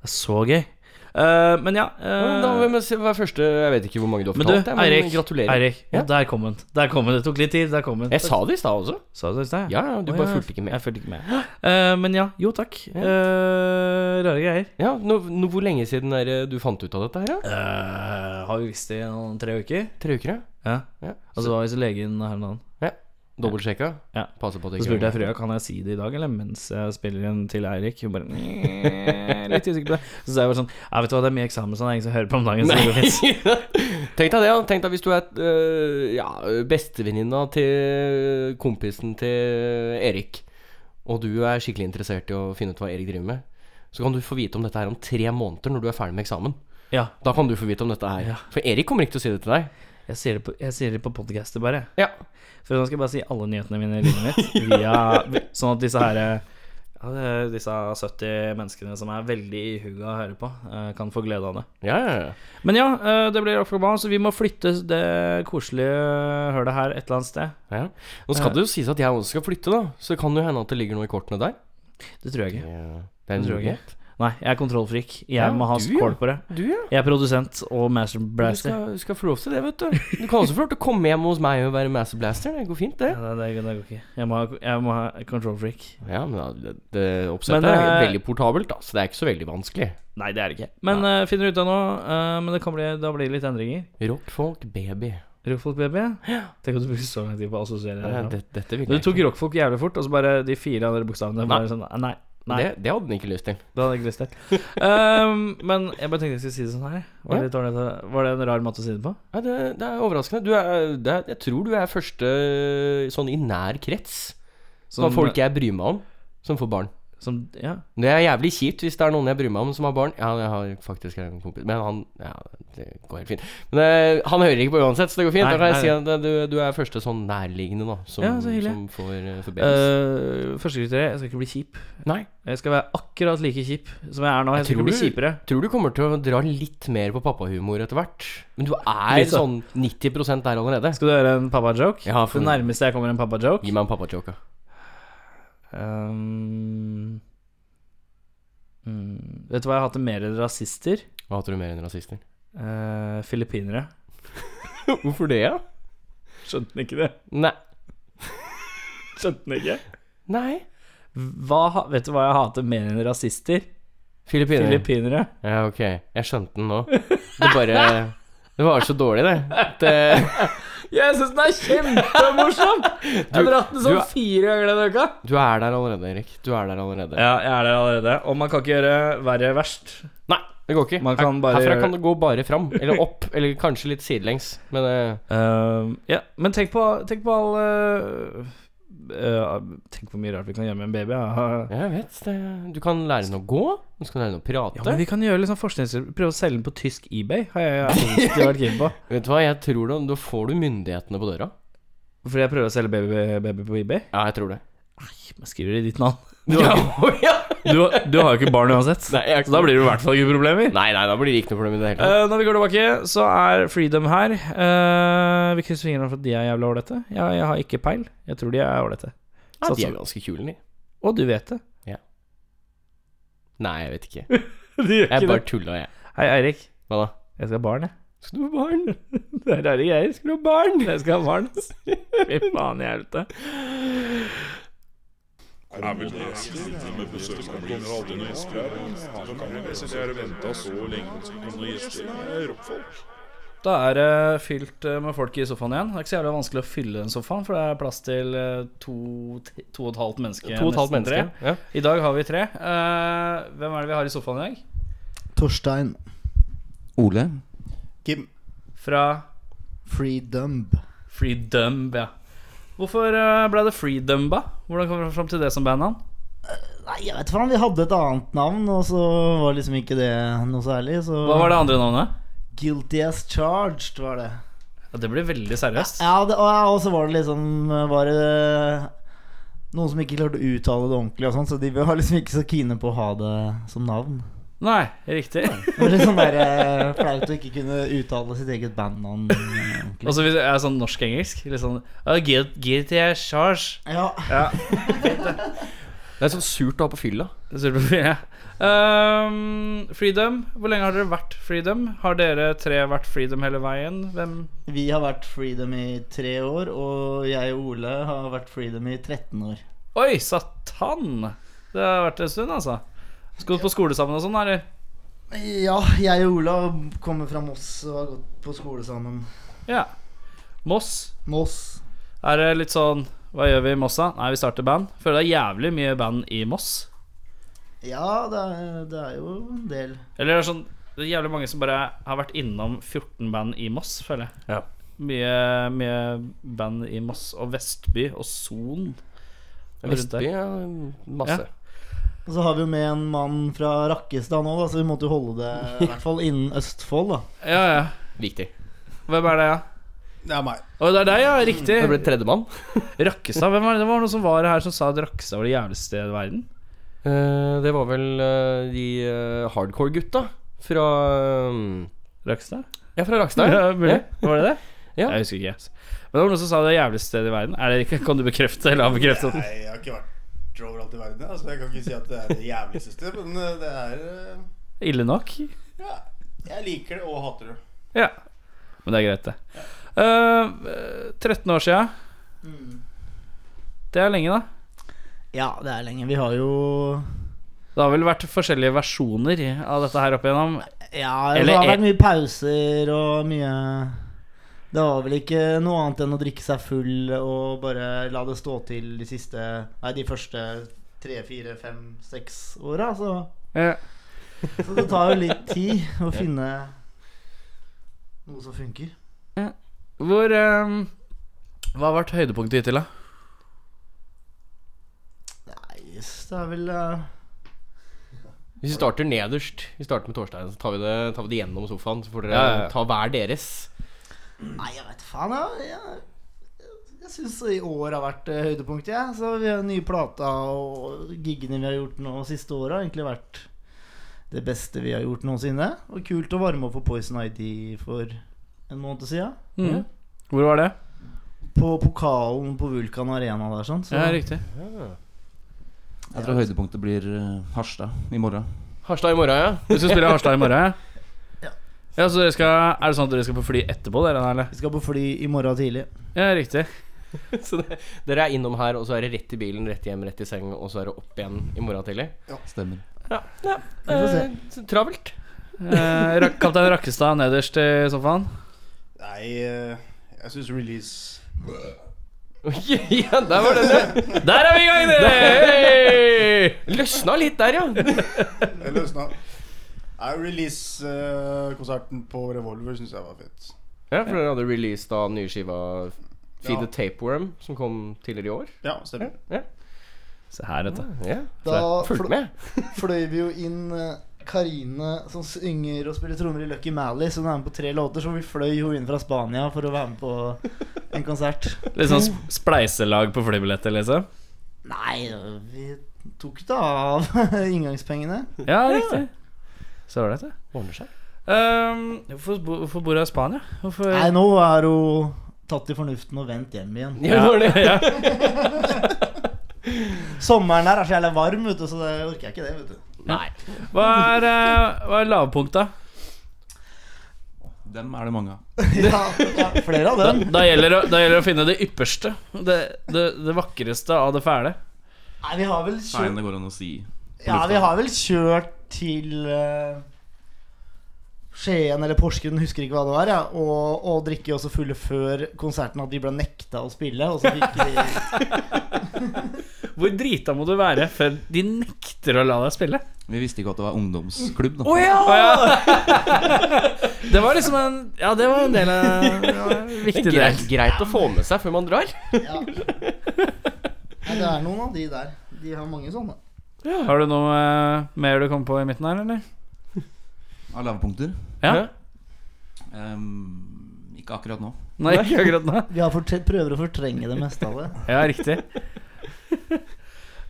det er så gøy. Eh, men ja eh, Men Da må vi se hva er første Jeg vet ikke hvor mange du har Men du, fortalt, jeg, men Eirik. gratulerer. Eirik, Ja. Der kom den. Der kom den. Det tok litt tid. Der kom den. Jeg sa det i stad også. Sa du det i sted? Ja, ja, du Å, bare ja. fulgte ikke med. Jeg fulgte ikke med. Eh, men ja, jo takk. Eh, rare greier. Ja, nå, nå, Hvor lenge siden er det du fant ut av dette her, da? Eh, har vi visst det i noen tre uker? Tre uker, ja? Ja. Ja. Og så var vi hos legen her om dagen. ja. Dobbeltsjekka? Ja. Passe på at det Så ikke spurte jeg frøa kan jeg si det i dag, eller mens jeg spiller en til Eirik. Hun bare "Nye", Litt usikker på det. Så sa jeg bare sånn Ja, vet du hva, det er mye eksamen, så det er ingen som hører på om dagen. Så det går fint. Tenk deg det, ja. Tenk deg hvis du er øh, ja, bestevenninna til kompisen til Erik, og du er skikkelig interessert i å finne ut hva Erik driver med. Så kan du få vite om dette her om tre måneder, når du er ferdig med eksamen. Ja. Da kan du få vite om dette her. Ja. For Erik kommer ikke til å si det til deg. Jeg sier det på, jeg sier det på podcastet bare. Ja. For nå skal jeg bare si alle nyhetene mine i livet mitt. Via, sånn at disse her eh, ja, det- Disse 70 menneskene som er veldig i huga å høre på, eh, kan få glede av det. Ja, ja, ja. Men ja, eh, det blir Rockfolk-barn, så vi må flytte det koselige hølet her et eller annet sted. ja. Nå skal det jo sies at jeg også skal flytte, da. Så det kan jo hende at det ligger noe i kortene der. Det tror jeg Det ikke. er en Det tror jeg ikke. mulighet. Nei, jeg er kontrollfrik. Jeg Ja, må ha du, ja. kål på det. Du, ja. Jeg er produsent og Du masterblaster. skal, du skal få lov til det, vet du. Du kan også få lov til å komme hjem hos meg og være Master Blaster. Det går fint, det. Ja, det, det, det går ikke. Jeg må ha, jeg må ha kontrollfreak. Ja, men da, det, det oppsettet er Men, eh, veldig portabelt, da, så det er ikke så veldig vanskelig. Nei, det er det ikke. Men eh, finner ut av nå. eh, men det kan bli, da blir det litt endringer. Rockfolk baby. Rockfolk baby. Tenk at du bruker så lang tid på å assosiere Ja, det. Eh, det, dette vil Du jeg tok rockfolk jævlig fort, og så bare de fire andre bokstavene bare sånn Nei. Nei, Det, det hadde den ikke lyst til. det hadde jeg ikke lyst til. Um, men jeg bare tenkte jeg skulle si det sånn her. Var det, litt dårlig, at- var det en rar måte å si det på? Ja, det, eh, det er overraskende. Du er, det er, jeg tror du er første sånn i nær krets Hva Som, folk jeg bryr meg om, som får barn. som, ja. Det er jævlig kjipt hvis det er noen jeg bryr meg om som har barn. Ja, jeg har faktisk en kompis Men han Ja, det går helt fint. Men eh, han hører ikke på uansett, så det går fint. Nei, da kan nei, jeg si at eh, du, du er første sånn nærliggende, da, som, Ja, så hyggelig. som får eh, forbedres. Uh, Førstekriteriet jeg skal ikke bli kjip. nei. Jeg skal være akkurat like kjip som jeg er nå. Jeg skal tror ikke bli du- kjipere. Tror du kommer til å dra litt mer på pappahumor etter hvert. Men du er Litt, da. sånn 90 der allerede. Skal du høre en pappa-joke? Ja, for- Det nærmeste jeg kommer en pappa-joke. Gi meg en pappajoke. Ehm, mm, vet du hva jeg hater mer enn rasister? Hva hater du mer enn rasister? Eh, filippinere. Hvorfor det, ja? Skjønte den ikke det? Nei. Skjønte den ikke? Nei. Hva, ha- vet du hva jeg hater mer enn rasister? Filippinere. Filippinere. Ja, ok. Jeg skjønte den nå. Det bare Det var så dårlig, det. eh, det Jeg syns den er kjempemorsom! Jeg har Du- dratt den du sånn er- fire ganger denne uka. du er der allerede, Erik. Du er der allerede. Ja, jeg er der allerede. Og man kan ikke gjøre verre verst. Nei, det går ikke. Man kan bare Herfra gjøre- kan det gå bare fram. Eller opp. Eller kanskje litt sidelengs. Men eh, Ehm, ja, men tenk på, tenk på alle eh, Tenk hvor mye rart vi kan gjøre med en baby. ja. jeg vet det. Du kan lære den å gå. Du kan lære den å prate. Ja, men vi kan gjøre litt sånn forskningsprøve Prøve å selge den på tysk eBay. Har jeg alltid vært keen på. Vet du hva, jeg tror da, da får du myndighetene på døra. Fordi jeg prøver å selge baby, baby på eBay? Ja, jeg tror det. Men skriver det i ditt navn. Du har, ja, Du, du har jo ikke barn uansett. Nei, jeg, Så da blir det i hvert fall ikke problemer. nei, nei, da blir det ikke noe problem i det hele tatt. Eh, når vi går tilbake, så er Freedom her. Eh, vi krysser fingrene for at de er jævla ålrete. Jeg, jeg har ikke peil. Jeg tror de er ålrete. Ja, de satser- er ganske kule, de. Og du vet det. Nei, jeg vet ikke. De gjør Jeg bare tulla, jeg. Hei, Eirik. Hva da? Jeg skal ha barn, jeg. Skal du ha barn? Det er rare greier. Skal du ha barn? Jeg skal ha barn. ass. Fy faen i helvete. Er vel det sliter med besøkskommer aldri noen gjester her. Hvem er det? Jeg synes jeg har ventet så lenge på at det skal komme noen gjester. Det er rockfolk. Da er det fylt eh, med folk i sofaen igjen. Det er ikke så jævlig vanskelig å fylle den sofaen, for det er plass til eh, to, t- to og et halvt menneske. To og et halvt nesten menneske. Ja. Tre. I dag har vi tre. Eh, hvem er det vi har i sofaen i dag? Torstein Ole? Kim Fra Freedom Freedumb, ja. Hvorfor eh, ble det Freedumba? Hvordan kom vi fram til det som bandnavn? Nei, jeg vet faen, vi hadde et annet navn Og så var liksom ikke det noe særlig så... Hva var det andre navnet? Guilty as charged var det Ja, det blir veldig seriøst. Ja, det, og, ja, og så var det liksom Var det noen som ikke klarte å uttale det ordentlig og sånn, Så de var liksom ikke så kine på å ha det som navn Nei, riktig. Det var litt sånn der eh, flaut å ikke kunne uttale sitt eget bandnavn eh, Og ordentlig så hvis jeg er sånn norsk-engelsk. Litt sånn uh, guilt, Guilty as charged. Ja, Det er sånn surt å ha på fylla. Det ser du på bildet. Ehm, freedom. Hvor lenge har dere vært Freedom? Har dere tre vært Freedom hele veien? Hvem? vi har vært Freedom i tre år Og jeg og Ole har vært Freedom i 13 år Oi, satan! Det har vært en stund, altså. Skal du på skole sammen og sånn, eller? Ja, jeg og Ola kommer fra Moss og har gått på skole sammen. Ja. Moss. Moss. Er det litt sånn Hva gjør vi i Mossa? Nei, vi starter band. Føler det er jævlig mye band i Moss. Ja, det er, det er jo en del. Eller det er sånn Det er jævlig mange som bare har vært innom 14 band i Moss, føler jeg. Ja. Mye, mye band i Moss og Vestby og Son. Rundt der. Vestby, ja. Masse. Og så har vi jo med en mann fra Rakkestad nå, da, så vi måtte jo holde det i hvert fall innen Østfold. da Ja, ja. Viktig. Hvem er det, ja? Det er meg. Å, det er deg, ja. Det ble Riktig. tredjemann. Rakkestad. Hvem var det? det var noen som var her som sa at Rakkestad var det jævligste stedet i verden. Eh, det var vel eh, de eh, hardcore-gutta fra eh, Rakkestad? Ja, fra Rakstad. Ja, mulig. Ja. Var det det? Ja. Jeg husker ikke. ass. Men det var noen som sa det jævligste stedet i verden. Er det ikke, kan du bekrefte eller avbekrefte det? Nei, jeg har ikke vært overalt i verden. Altså, jeg kan ikke si at det er det jævligste stedet, men eh, det er eh, Ille nok? Ja. Jeg liker det og hater det. Ja. Men det er greit, det. Eh, 13 år sia. Mm. Det er lenge, da. Ja, det er lenge. Vi har jo Det har vel vært forskjellige versjoner av dette her opp igjennom. Ja, Eller det har er- vært mye pauser og mye Det var vel ikke noe annet enn å drikke seg full og bare la det stå til de siste Nei, de første tre, fire, fem, seks åra, så Ja. Så det tar jo litt tid å finne noe som funker. Hvor eh, Hva har vært høydepunktet hittil, da? det er vel eh, Hvis vi starter nederst, vi starter med Torstein, så tar vi det, tar vi det gjennom sofaen. Så får dere Ja, ja, ja. ta hver deres. Nei, jeg vet faen. Jeg, jeg, jeg syns i år har vært eh, høydepunktet, jeg. Så vi har nye plata og giggene vi har gjort nå siste året, har egentlig vært det beste vi har gjort noensinne. Og kult å varme opp for Poison ID for en måned siden. Mm. Hvor var det? På pokalen på Vulkan Arena der, sånn. Så Ja, riktig. Jeg tror høydepunktet blir eh, Harstad i morgen. Harstad i morgen, ja. Du skal spille Harstad i morgen? Ja. Ja, så dere skal, Er det sånn at dere skal på fly etterpå, dere? Eller? vi skal på fly i morgen tidlig. Ja, riktig. Så det, dere er innom her, og så er det rett i bilen, rett hjem, rett i seng, og så er det opp igjen i morgen tidlig. Stemmer. Ja, ja. får se. Eh, så travelt. Eh, Ra- Kaptein Rakkestad nederst i sofaen. Nei, eh, jeg syns release ja, der var den, ja. Der er vi i gang, dere! Løsna litt der, ja. Det løsna. Nei, Release-konserten på Revolver syns jeg var fett. Ja, For dere hadde released da nye skiva Feed Ja. the Tapeworm, som kom tidligere i år. Ja, stemmer. Ja, Ah, Se her, vet du. ja. Da Fulgt med. fløy vi jo inn eh, Karine som synger og spiller trommer i Lucky Mally, så hun er med på tre låter. Så vi fløy jo inn fra Spania for å være med på en konsert. Litt sånn sp- spleiselag på flybilletter, liksom. Nei, vi tok det av inngangspengene. Ja, riktig. Så ålreit, det. Ordner seg. Um, hvorfor, bo- hvorfor bor hun i Spania? Hvorfor Nei, nå er hun tatt til fornuften og vendt hjem igjen. Ja, det var det. ja. Sommeren her er så jævlig varm, vet du, så det orker jeg ikke det. vet du Nei. Hva er, eh, hva er lavpunkta? Dem er det mange av. ja, ja, Flere av Da, dem. da, gjelder det, da gjelder det å finne det ypperste. Det, det, det vakreste av det fæle. Nei, vi har vel Nei, kjørt det går an å si. Ja, vi har vel kjørt til eh, Skien eller Porsgrunn, husker ikke hva det var, ja. og, og drikke også fulle før konserten at vi ble nekta å spille. Og så fikk vi Hvor drita må du være før de nekter å la deg spille? Vi visste ikke at det var ungdomsklubb. da Å, ja. Det var liksom en Ja, det var en del av det var en viktig Greit, del. greit å få med seg før man drar. ja. Nei, det er noen av de der. De har mange sånne. Har du noe eh, mer du kom på i midten her, eller? Av lavpunkter. Ja? Ehm, ikke akkurat nå. Nei, ikke akkurat nå. Vi har fortre- prøver å fortrenge det meste av det. Ja, riktig.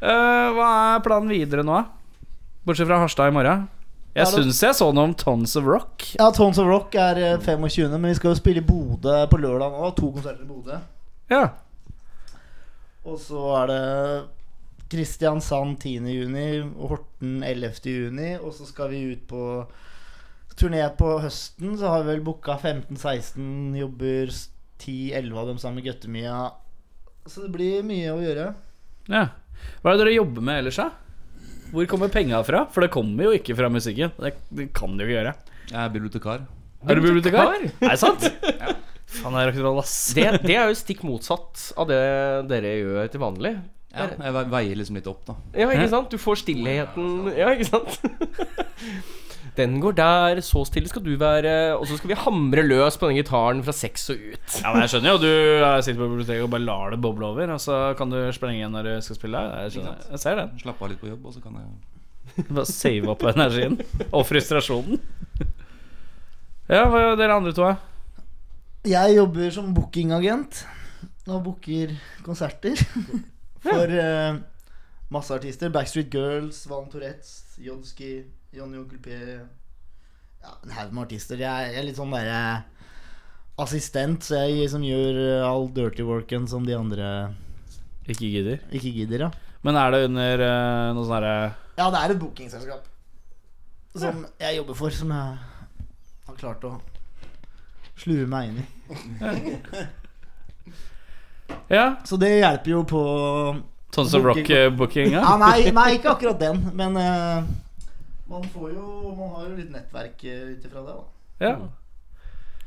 Eh, hva er planen videre nå, da? Bortsett fra Harstad i morgen. Jeg Ja, da- syns jeg så noe om Tons of Rock. Ja, Tons of Rock er eh, 25., men vi skal jo spille i Bodø på lørdag nå. To konserter i Bodø. Ja. Og så er det Kristiansand 10. juni og Horten 11. juni. Og så skal vi ut på turné på høsten. Så har vi vel booka 15-16, jobber 10-11 av dem sammen med Gøttemia. Så det blir mye å gjøre. ja. Hva er det dere jobber med ellers, da? Hvor kommer penga fra? For det kommer jo ikke fra musikken. Det, det kan det jo ikke gjøre. Jeg er bibliotekar. Er du bibliotekar? Er det sant? Faen, det er rock'n'roll, ass. Det, det er jo stikk motsatt av det dere gjør til vanlig. Ja, jeg ve- veier liksom litt opp, da. Ja, ikke sant? Du får stillheten Ja, ikke sant? Den går der, så stille skal du være, og så skal vi hamre løs på den gitaren fra seks og ut. Ja, men Jeg skjønner jo du eh, sitter på biblioteket og bare lar det boble over, og så kan du sprenge igjen når du skal spille. Jeg, skjønner. jeg ser den. Slappe av litt på jobb, og så kan jeg Bare save opp energien og frustrasjonen. Ja, hva gjør dere andre to? da? Jeg jobber som bookingagent og booker konserter for eh, masse artister. Backstreet Girls, Van Tourettes, Jodski, Johnny Onkel P. Ja, en haug med artister. Jeg, jeg er litt sånn derre assistent, så jeg liksom gjør eh, all dirty worken som de andre Ikke gidder. ikke gidder, ja. Men er det under eh, noe sånn herre Ja, det er et bookingselskap som jeg jobber for, som jeg har klart å slue meg inn i. Ja, Så det hjelper jo på sånn som rock-bookinga? Ja, nei, nei, ikke akkurat den, men eh, man, får jo, man har jo litt nettverk eh, ut ifra det, da. Ja.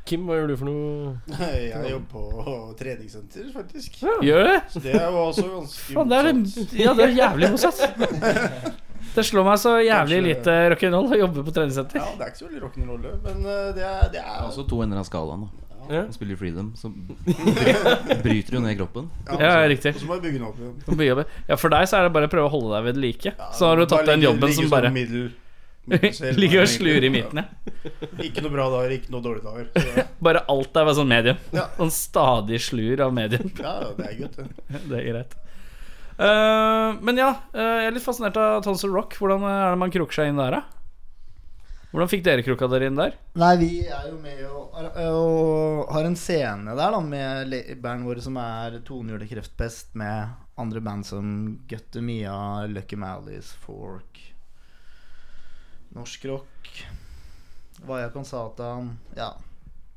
Kim, hva gjør du for noe? Jeg jobber på treningssenter, faktisk. Gjør det? Så det er jo også ganske Faen, det er, motsatt. ja, det er jævlig motsatt. Det slår meg så jævlig Kanskje- lite rock'n'roll å jobbe på treningssenter. Ja, det er ikke så veldig rock'n'roll, men eh, det er, det er Også to ender av skalaen, da. ja, Ja. og spiller Freedom, så bry- bryter jo ned kroppen. Ja, riktig. Og så må jeg bygge den opp igjen. Nå bygger vi- Ja, For deg så er det bare å prøve å holde deg ved like. Ja, Så har du tatt bare den ligge- jobben ligge som sånn bare middel- middel- ligger og slurer i midten, ja. Ikke noe bra dager, ikke noe dårlige dager. Så, ja. Bare alt er bare sånn medium. Ja. Sånn stadig slur av medium. ja, det er godt, det. Det er greit. Eh, men ja, eh, jeg er litt fascinert av Tons of Rock. Hvordan eh, er det man kroker seg inn der, da? Hvordan fikk dere kroka dere inn der? Nei, vi er jo med og, og har en scene der da med le- band våre som er Tonehjulet Kreftpest, med andre band som Gutter Mia, Lucky Malice, Fork, Norsk Rock, Vaya Consatan Ja,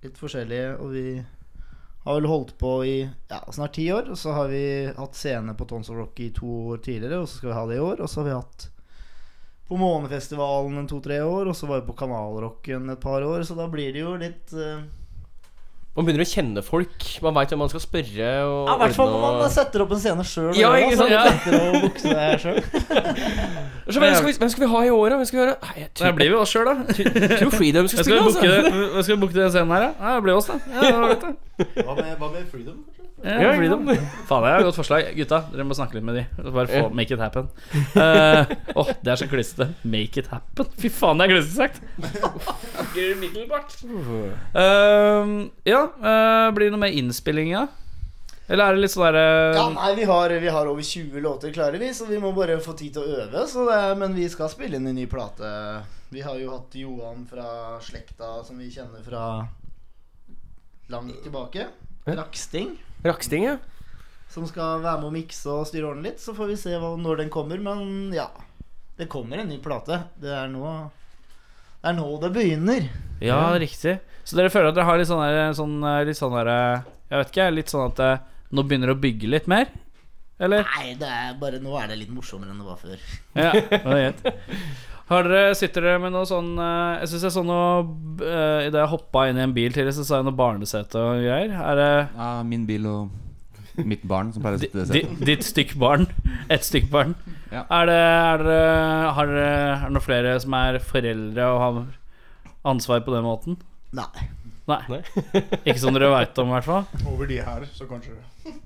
litt forskjellige. Og vi har vel holdt på i ja, snart ti år. Og så har vi hatt scene på Tons of Rock i to år tidligere, og så skal vi ha det i år. Og så har vi hatt på Månefestivalen en to-tre år, og så var jeg på Kanalrocken et par år, så da blir det jo litt eh, Man begynner å kjenne folk. Man veit hvem man skal spørre. Og Ja, I hvert fall ordne når man og- setter opp en scene sjøl. Ja, ikke sant? Ja. å bukse deg selv. Så, hvem, skal vi, hvem skal vi ha i år, da? Hvem skal vi gjøre? Nei, jeg Det tror, blir vi oss sjøl, da. jeg tror Freedom skal Jeg skal spille, vi booke altså. det- jeg skal booke den scenen her, da? Ja, det blir oss, da. Ja, det var greit, da. Hva med, hva med freedom? Ja, ikke freedom. Faen, det er et godt forslag. Gutta, dere må snakke litt med de. Bare få make it happen. Eh, Åh, det er så klissete. Make it happen. Fy faen, det er klissete sagt. Snakker umiddelbart. Eh, ja, eh, blir det noe mer innspilling, ja? Eller er det litt sånn derre Ja, nei, vi har, vi har over 20 låter klare, vi, så vi må bare få tid til å øve. Så det, er- men vi skal spille inn en ny plate. Vi har jo hatt Johan fra slekta som vi kjenner fra langt tilbake. Raksting. Raksting, ja. som skal være med å mikse og styre ordentlig litt. Så får vi se hva, når den kommer. Men ja, det kommer en ny plate. Det er nå det, er nå det begynner. Ja, riktig. Så dere føler at dere har litt sånn der, sånn, eh, litt sånn der eh, Jeg vet ikke, litt sånn at eh, nå begynner det å bygge litt mer? Eller? Nei, det er bare, nå er det litt morsommere enn det var før. Ja, det er greit. Har dere, sitter dere med noe sånn eh, Jeg syns jeg så noe uh, Idet jeg hoppa inn i en bil tidligere, så sa jeg noe barnesete og greier. Er det Ja, min bil og mitt barn som pleier å sitte i di, setet. ditt stykk barn? Ett stykk barn. Ja. Er det, er det Har dere er det noen flere som er foreldre og har ansvar på den måten? Nei. Nei. Nei. Ikke som dere veit om, i hvert fall. Over de her, så kanskje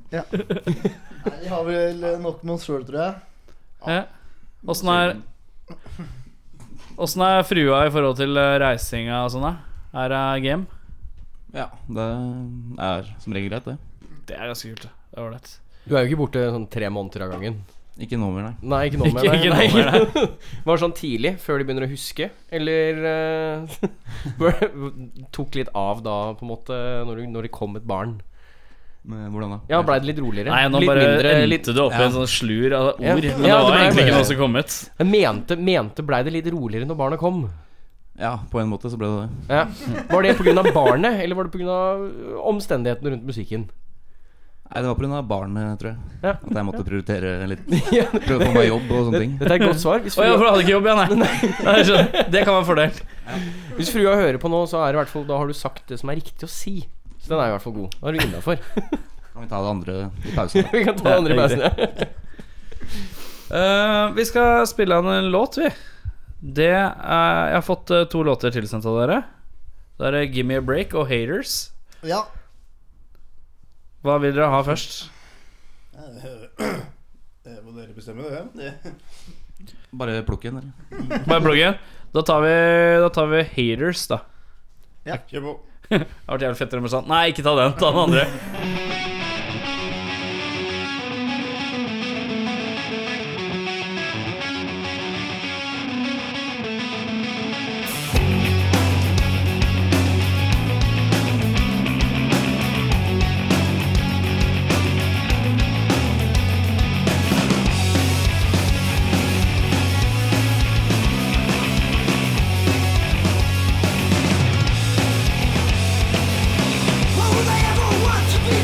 Nei, Vi har vel nok med oss sjøl, tror jeg. Ja. Åssen er Åssen er frua i forhold til eh, reisinga og sånn, da? Er det game? Ja, det er som regel greit, det. Det er ganske kult. Det er ålreit. Du er jo ikke borte sånn tre måneder av gangen. Ikke nå mer, nei. Nei, ikke nå Ikke- med deg. ikke nå Nei. med Var sånn tidlig, før de begynner å huske. Eller eh, bare tok litt av da, på en måte, når, du, når det kom et barn. Men hvordan da? Ja, blei det litt roligere? Nei, nå litt bare endte litt, du opp i en sånn slur av ord. Ja. Men Ja, det det var ble egentlig bare- ikke noe som kom ut. Jeg mente, mente blei det litt roligere når barna kom. Ja, på en måte så ble det det. Ja. Var det pga. barnet, eller var det pga. omstendighetene rundt musikken? Nei, det var pga. barnet, tror jeg. Ja. At jeg måtte prioritere litt. Prøve å få meg jobb og sånne ting. Dette er et godt svar. Hvis Å ja, for frua, du hadde ikke jobb, ja. Nei. nei jeg skjønner. det kan være en fordel. hvis frua hører på nå, så er det i hvert fall, da har du sagt det som er riktig å si. Så den er i hvert fall god. Da er du innafor. Kan vi ta det andre i pausen? da? Vi kan ta den andre Ja, pausen. ja. Eh, vi skal spille an en låt, vi. Det er, Jeg har fått eh, to låter tilsendt av dere. Det er eh, Give Me A Break og Haters. Ja. Hva vil dere ha først? Det må dere bestemme, det. det. Bare plukke en, eller? Bare pluggen. Da tar vi, da tar vi Haters, da. Kjør på. Det hadde vært jævlig fett om de sa Nei, ikke ta den, ta den andre. What would I ever want to be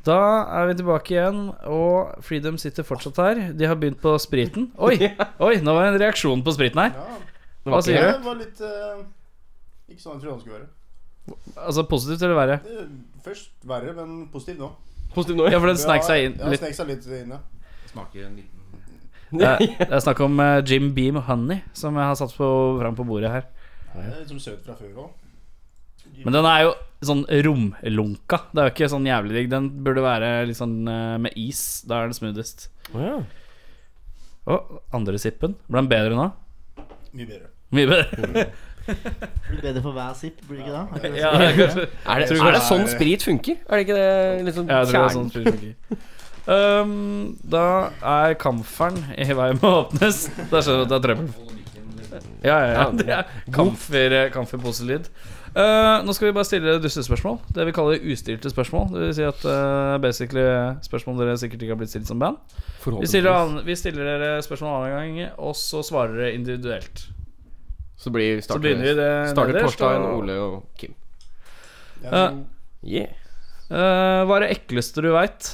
Da er vi tilbake igjen, og Freedom sitter fortsatt her. De har begynt på spriten. Oi, oi, nå var det en reaksjon på spriten her. Ja, Hva det sier du? var litt eh, Ikke sånn jeg trodde han skulle være. Altså positivt eller verre? Det er Først verre, men positivt nå. Positiv nå, Ja, for den Det snek har- seg inn Ja, litt. snek seg litt inn, ja. Smaker en liten Det er, det er snakk om eh, Jim Beam Honey, som jeg har satt på, fram på bordet her. Det er Litt som søt fra før òg. Men den er jo sånn romlunka. Det er jo ikke sånn jævlig digg. Den burde være litt sånn eh, med is. Da er den smoothest. Ja. Og andre sippen. Ble den bedre nå? Mye bedre. Mye bedre. Blir bedre for hver sipp, blir det ikke det? Er ikke det? Ja, det er kanskje Er, det, Tror du er det det sånn er- sprit funker? Er det ikke det liksom Ja, jeg tror det er kjernen? sånn spillet funker. Um, da er kamferen i vei med å åpnes. Da skjønner du at det er trøbbel. Ja, ja, ja. Det er kamfer, kamfer poselyd. Uh, nå skal vi bare stille dustespørsmål. Det vi kaller ustilte spørsmål. Det vil si at uh, basically spørsmål dere sikkert ikke har blitt stilt som band. Vi stiller, Forhåpentligvis. an, vi stiller dere spørsmål en annen gang, og så svarer dere individuelt. Så, blir, Så starter, begynner vi det starter nederst, Torstein, og- Ole og Kim. Jeg Ja. tror- Yeah. Uh, hva er det ekleste du veit?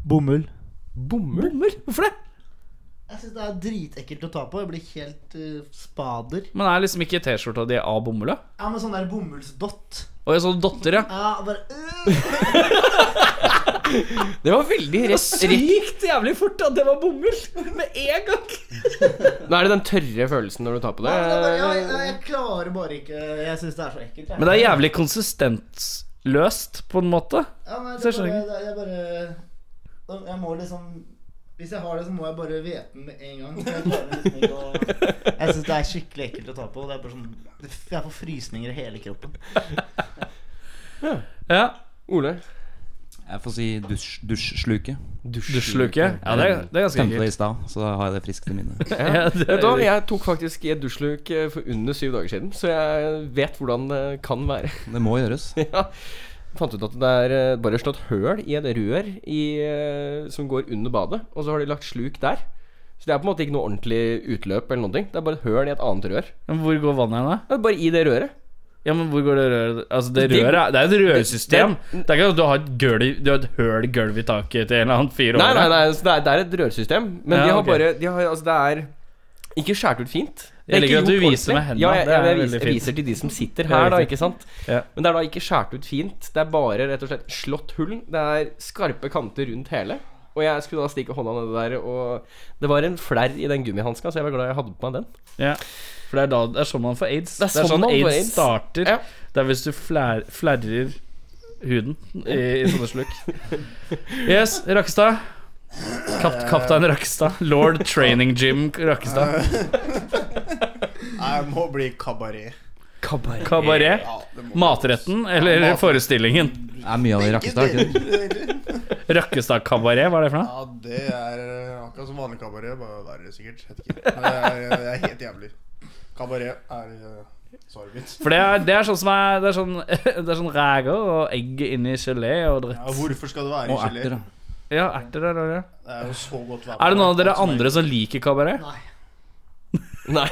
Bomull. Bomull? Bommer? Hvorfor det? Jeg syns det er dritekkelt å ta på. Jeg blir helt eh, spader. Men er liksom ikke T-skjorta di av bomull, da? Ja, med sånn der bomullsdott. Og jeg så dotter, ja. Ja, bare øh. Det var veldig rett, rett. Sykt jævlig fort at det var bomull med en gang. Nå er det den tørre følelsen når du tar på det. Ja, men det er bare- ja, jeg, jeg klarer bare ikke Jeg syns det er så ekkelt. jeg. Men det er jævlig konsistensløst, på en måte. Ja, nei, Så det jeg bare, skjønner det, jeg bare Jeg må liksom Hvis jeg har det, så må jeg bare vete den med en gang. for Jeg, klarer liksom ikke å- jeg syns det er skikkelig ekkelt å ta på. Det er bare sånn Jeg får frysninger i hele kroppen. Ja. Ole. Jeg får si dusj, dusjsluke. Dusjluke. Ja, det er, det er ganske Tente det ekkelt. i stad, så da har jeg det friskt i minnet. Ja, det Vet du hva, er- jeg tok faktisk i et dusjluk eh, for under syv dager siden, så jeg vet hvordan det kan være. Det må gjøres. ja. Fant ut at det er eh, bare slått høl i et rør i, eh, som går under badet, og så har de lagt sluk der. Så det er på en måte ikke noe ordentlig utløp eller noen ting. Det er bare et høl i et annet rør. Men hvor går vannet hen, da? Det er bare i det røret. Ja, men hvor går det røret Altså, det Det- røret er- Det er et rørsystem. det- Det er ikke at du har et, gulv, i- du har et høl i gulvet i taket til en eller annen fyr Nei, over nei, deg. nei altså, det, er, det er et rørsystem, men Ja, de har ok. bare de har, Altså, det er ikke skåret ut fint. Det Jeg er liker ikke at du gjort viser med hendene, Ja, jeg, det jeg, er jeg, veldig viser, jeg fint. viser til de som sitter Det er her, da, riktig. ikke sant. Ja. Men det er da ikke skåret ut fint. Det er bare rett og slett slått hull. Det er skarpe kanter rundt hele. Og jeg skulle da stikke hånda nedi der, og det var en flerr i den gummihanska, så jeg var glad jeg hadde på meg den. Ja. For det er, da, det er sånn man får aids. Det er sånn man får aids, aids. starter. Ja. Det er hvis du flær, flerrer huden i, i sånne slukk. Yes, Rakkestad. Kap, Kaptein Rakkestad. Lord Training Gym Rakkestad. Nei, jeg må bli kabaret. Kabaret. Ja, det må Matretten eller forestillingen? Det er mye av det i Rakkestad. ikke det? Rakkestad-kabaret, hva er det for noe? Ja, det er eh, akkurat som vanlig kabaret, bare verre sikkert. Jeg vet ikke. Men Det er, eh, det er helt jævlig. Kabaret er eh, svaret mitt. For det er, det er sånn som er Det er sånn, det er sånn ræger og egg inni gelé og dritt. Ja, hvorfor skal det være i Og gelé? erter, da. Ja, erter der òg, ja. Det er jo så godt vær. Er det noen av dere andre som liker kabaret? Nei. Nei.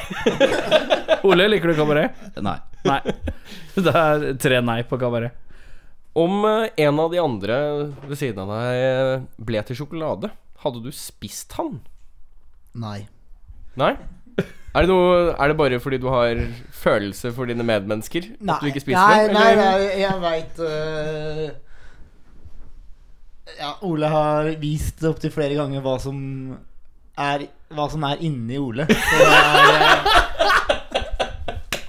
Ole, liker du kabaret? Nei. Nei. Det er tre nei på kabaret. Om eh, en av de andre ved siden av deg eh, ble til sjokolade, hadde du spist han? Nei. Nei? Er det, noe, er det bare fordi du har følelse for dine medmennesker? At du ikke spiser nei, dem? nei, eller? nei, jeg veit Ja, Ole har vist opptil flere ganger hva som er Hva som er inni Ole. Så det er, eh,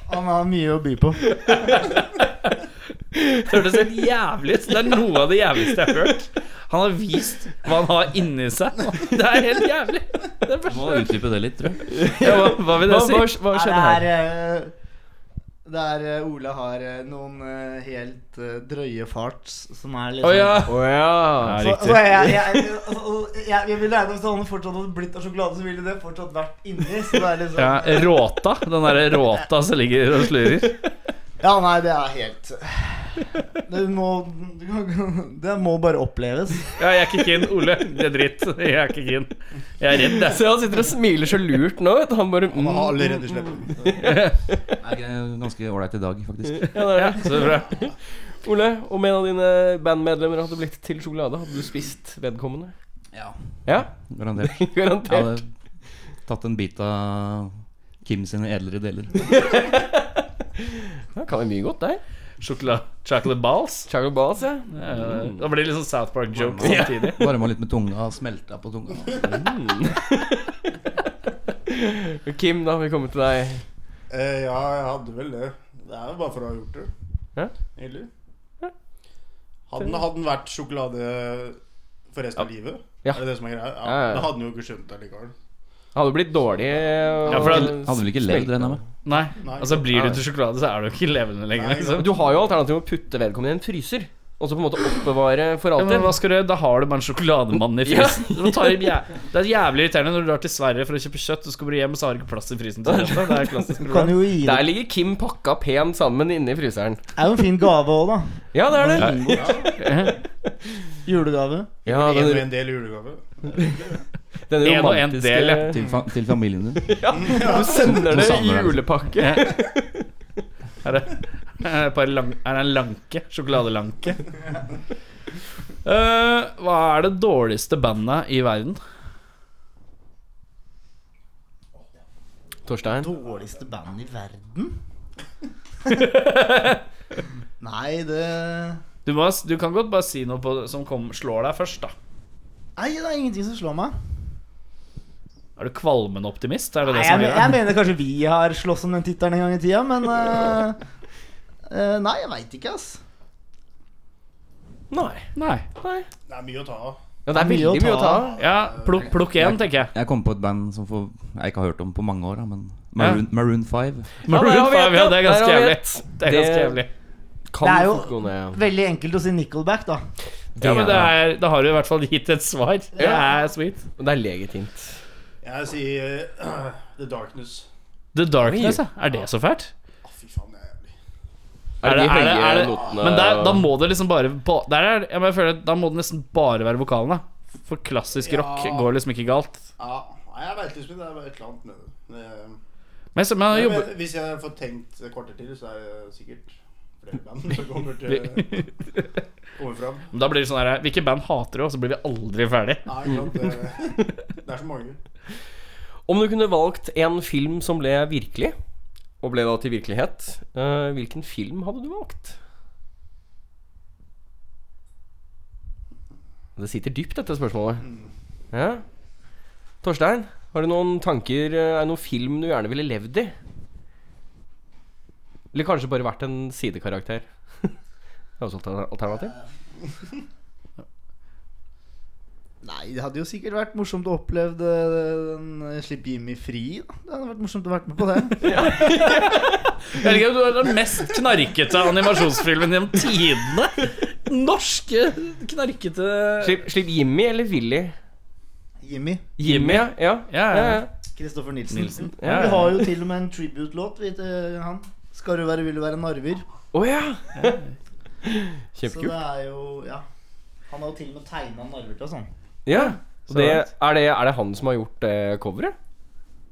han har mye å by på. Det hørtes helt jævlig ut. Det er noe av det jævligste jeg har hørt. Han har vist hva han har inni seg. Det er helt jævlig. Det er Må første utdype det litt, tror jeg. ja, hva, hva vil Hva, det hva, si? hva Nei, skjedde her? Det er, eh, det er eh, Ole har eh, noen eh, helt eh, drøye farts som er litt Å ja. sånn- Å ja. Ja, Så, riktig. så jeg, jeg, jeg, altså, jeg, jeg ville regnet hvis han fortsatt hadde blitt av sjokolade, så ville det fortsatt vært inni. Så det er liksom Ja, eh. råta. Den derre råta som ligger og slurer. Ja, nei, det er helt Det må, det må bare oppleves. Ja, jeg er ikke keen, Ole. Det er dritt. Jeg er ikke keen. Jeg er redd, jeg. Se, han sitter og smiler så lurt nå. vet du. Han bare Han mm. har allerede sluppet. Nei, det er ganske ålreit i dag, faktisk. ja, det er Ja, det. så bra. Ole, om en av dine bandmedlemmer hadde blitt til sjokolade, hadde du spist vedkommende? Ja. Ja, Garantert. garantert. Jeg hadde tatt en bit av Kim sine edlere deler. Ja, kan være mye godt der. Sjokolade. Chocolate balls. Chocolate balls, ja. Ja, Mm. Da blir det litt sånn South Park-joke Ja. samtidig. Varma litt med tunga, smelta på tunga. Kim, da har vi kommet til deg. Eh, ja, jeg hadde vel det. Det er jo bare for å ha gjort det. Ja. Egentlig. Hadde den, hadde den vært sjokolade for resten av livet? Ja. Er det det som er greia? Ja, Ja, ja, ja. Da hadde den jo ikke skjønt det likevel. Han hadde blitt dårlig. eh, og- Ja, for han Hadde vel ikke levd, regner jeg med. Nei. Nei. Altså, blir du til sjokolade, så er du ikke levende lenger, Nei, liksom. Du har jo alternativet å putte vedkommende i en fryser, og så på en måte oppbevare for Ja, men alltid. hva skal du gjøre? Da har du bare en sjokolademann i frysen. Du må ta i jæ- Det er jævlig irriterende når du drar til Sverige for å kjøpe kjøtt, og så kommer du hjem, og så har du ikke plass i frysen til kjøttet. Det er et klassisk Du kan problem. jo gi det. Der ligger Kim pakka pent sammen inne i fryseren. Det er jo en fin gave òg, da. Ja, det er det. Julegave. Ja, En og den, en del julegave. den En og en romantiske del, ja. Til, fa til familien din. Du sender det i Samler den. julepakke. Er det, er det bare lang, er det en lanke? Sjokoladelanke? Eh, hva er det dårligste bandet i verden? Torstein. Dårligste band i verden? Nei, det Du, må, du kan godt bare si noe på, som kom, slår deg først, da. Nei, det er ingenting som slår meg. Er du kvalmende optimist? Er det Nei, det jeg, som me- gjør jeg det? mener kanskje vi har slåss om den tittelen en gang i tida, men eh, eh, Nei, jeg veit ikke, ass. Nei. Nei. Det er mye å ta av. Ja, det er Mye å veldig mye å ta ta. av. Ja, plukk, plukk én, tenker jeg. Jeg kom på et band som får, jeg ikke har hørt om på mange år, da, men Maroon, Maroon 5. Ja, der har vi et, ja, det er der ganske har vi jævlig. et. Det er ganske jævlig. Kan Det er jo- fort gå ned. Veldig enkelt å si Nickelback, da. Ja, men det er, da har du i hvert fall gitt et svar. Det er sweet. Det er legitimt. Jeg sier eh, The Darkness. The Darkness, ja. Er det så fælt? Å, fy faen, det er jævlig. Er det, Er det- er er det- er det- notene Men der, da må det liksom bare ba- der er, jeg bare føler, at Da må det nesten bare være vokalen, da. For klassisk rock Ja. går liksom ikke galt. Ja, nei, jeg veit liksom ikke. Det er bare et eller annet med det. det. Men, så, men, Nei, han jobber, men Hvis jeg får tenkt et kvarter til, så er det sikkert flere band som kommer til kommer fram. men da blir det sånn her Hvilke band hater du, og så blir vi aldri ferdig? Nei, ikke sant. Det, det er så mange. Om du kunne valgt en film som ble virkelig, og ble da til virkelighet, eh, hvilken film hadde du valgt? Det sitter dypt, dette spørsmålet. Mm. Ja. Torstein, har du noen tanker eh, Er det noen film du gjerne ville levd i? Eller kanskje bare vært en sidekarakter? det er også et alternativ. Nei, det hadde jo sikkert vært morsomt å oppleve det- den eh, Slipp Jimmy fri. Da. Det hadde vært morsomt å vært med på det. Jeg liker at Du er den mest knarkete animasjonsfilmen gjennom tidene. Norske knarkete Slipp, slipp Jimmy eller Willy? Jimmy. Jimmy, ja. ja. Ja, ja. Kristoffer Nilsen. Nilsen. Ja, vi har jo til og med en tribute-låt vi, til han. Skal du være, vil du være en arver? Å ja! Så det Kjempekult. er jo Ja. Han har jo til og med tegna en arver til oss, han. Ja. Så Og det, langt. er, det, er det han som har gjort det coveret?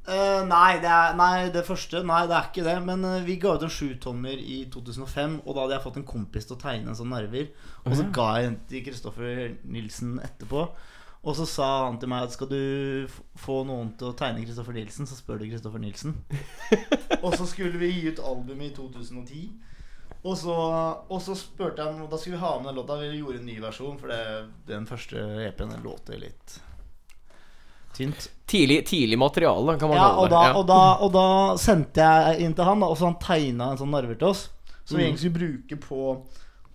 Eh, nei, det er, nei, det første Nei, det er ikke det. Men eh, vi ga ut en sjutommer i 2005, og da hadde jeg fått en kompis til å tegne en sånn nerver. Og så ga jeg den til Kristoffer Nilsen etterpå. Og så sa han til meg at skal du f- få noen til å tegne Kristoffer Nilsen, så spør du Kristoffer Nilsen. og så skulle vi gi ut albumet i 2010. Og så, og så spurte jeg om Da skulle vi ha med den låta. Vi gjorde en ny versjon, for det, den første EP-en den låter litt tynt. Tidlig, tidlig materiale, kan man Ja, kalle det. og da, Ja. og, da, og da sendte jeg inn til han, da, og så han tegna en sånn narver til oss. Som vi egentlig skulle bruke på,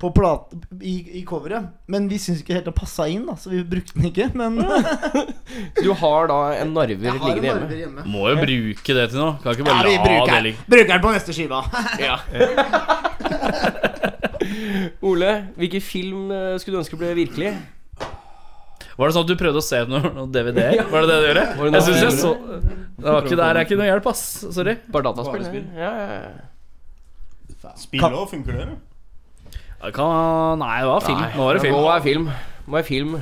på plat, i, i coveret. Men vi syntes ikke helt det passa inn, da, så vi brukte den ikke. Men jeg Du har da en narver har en liggende hjemme. narver hjemme. Må jo bruke det til noe. Kan ikke Ja, bare vi la det bruker, ligge. bruker den på neste skiva. Ja. Ole, hvilken film eh, skulle du ønske ble virkelig? Var det sånn at du prøvde å se noe, noe DVD? Var det det du gjorde? Var det noe Jeg synes jeg DVD? så Det var ikke der er ikke noe hjelp, ass. Sorry. Bare dataspill? Bare spill. Ja, ja, ja. Spill òg, funker det? Det Kan, nei, det var film. Nå var Nå det film. er film. Må jeg film.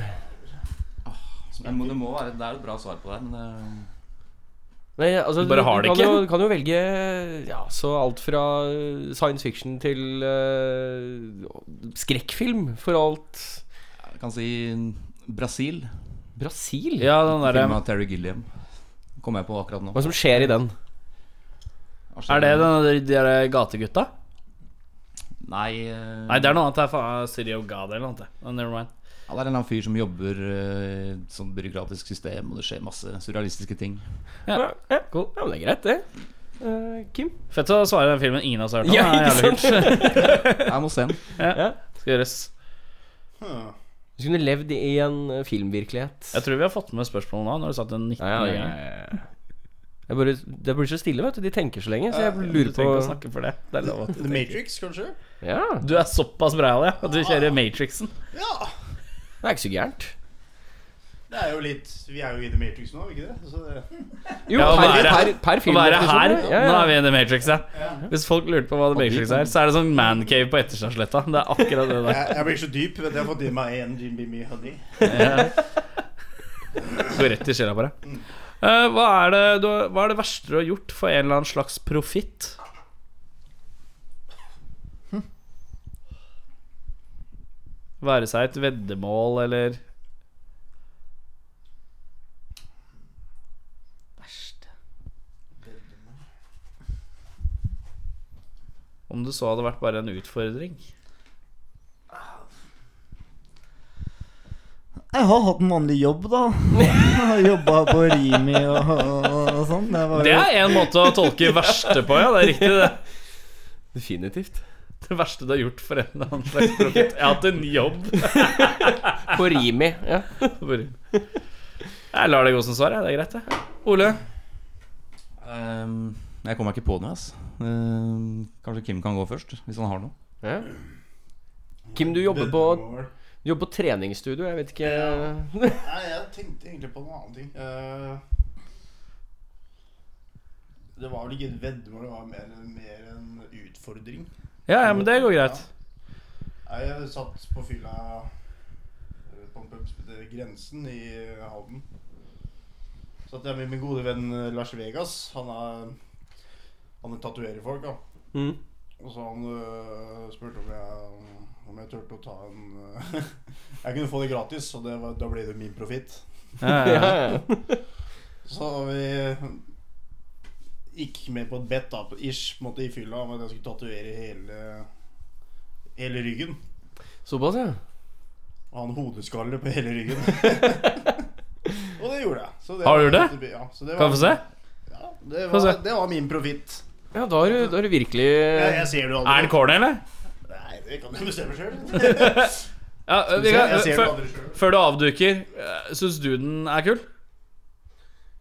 Det må, det må være Det er et bra svar på Eh, det, men det Nei, altså, Du bare har det kan ikke. Jo, kan jo velge ja, så alt fra eh, science fiction til eh, skrekkfilm, for alt jeg kan si Brasil. Brasil? Ja, den derre Film av Terry Gilliam. Kom jeg på akkurat nå. Hva som skjer i den? Er det den, de der gategutta? Nei, eh, Nei, det er noe annet. Det er faen City of God eller noe annet. det. Oh, Never mind. ja, det er en eller annen fyr som jobber eh, i et sånt byråkratisk system, og det skjer masse surrealistiske ting. Ja, ja, cool. ja men det er greit, det. Eh, Kim? Fett å svare den filmen ingen av oss har hørt om. Ja, Det er ikke jævlig kult. Jeg må se den. Skal gjøres. Du kunne levd i en eh, filmvirkelighet. Jeg tror vi har fått med spørsmål nå, når du satt den 19 Ja, ja, ja, ganger. Jeg bare, det blir så stille, vet du. De tenker så lenge, så jeg Du lurer på trenger ikke å snakke for det. Det er lov. at- The Matrix, kanskje? Ja, Du er såpass breial, ja. At du kjører Matrixen. Ja! Det er ikke så gærent. Det er jo litt Vi er jo i The Matrix nå, er vi ikke det? Så det Jo, Ja, å per, være- per, per Å film. være her, Ja, nå ja. er vi i The Matrix, ja. Hvis folk lurte på hva The Matrix er, så er det sånn mancave på Etterstadsletta. Det er akkurat det der. Jeg, jeg blir så dyp. Vet du, jeg har fått i meg en Jim Beamy Honey. Går rett i sjela på deg. Eh, hva, er det, du, har- hva er det verste du har gjort for en eller annen slags profitt? Være seg et veddemål eller Om det så hadde vært bare en utfordring. Jeg har hatt en vanlig jobb, da. Jobba på Rimi og, og, og sånn. Det var Det jo er én måte å tolke verste på, ja. Det er riktig, det. Definitivt. Det verste du har gjort for en eller annen slags profitt. Jeg har hatt en jobb. På Rimi. Ja. Bare- Jeg lar det gå som svar, jeg. Det er greit, det. Ole? Ehm, jeg kommer ikke på noe, ass. Ehm, kanskje Kim kan gå først, hvis han har noe. Ja. Kim, du jobber på Du jobber på treningsstudio, jeg vet ikke Nei, jeg tenkte egentlig på noen annen ting. Eh, det var vel ikke et veddemål, det var mer, mer en utfordring. Ja, ja, men det går greit. Nei, Jeg satt på fylla eh, på en pub som heter Grensen i Halden. Satt jeg med min gode venn eh, Lars Vegas. Han er Han er tatovererfolk, da. Mm. Og så han øh, spurte om jeg, om jeg turte å ta en øh, Jeg kunne få det gratis, og det var, da ble det min profitt. Ja, ja, ja, ja. ja. Så vi gikk med på et bet da, på ish, på en måte i fylla om at jeg skulle tatovere hele, hele ryggen. Såpass, ja. Og ha en hodeskalle på hele ryggen. og det gjorde jeg. Så det Har du var- gjort Ja, så det var, Kan vi få se? Ja, det Få var, se. det var min profitt. Ja, da har du, da har du virkelig Jeg, jeg ser det jo Er den aldri. corny, eller? Nei, det kan du bestemme sjøl. Ja, vi kan, Jeg ser det før, aldri sjøl. før du avduker, eh, syns du den er kul?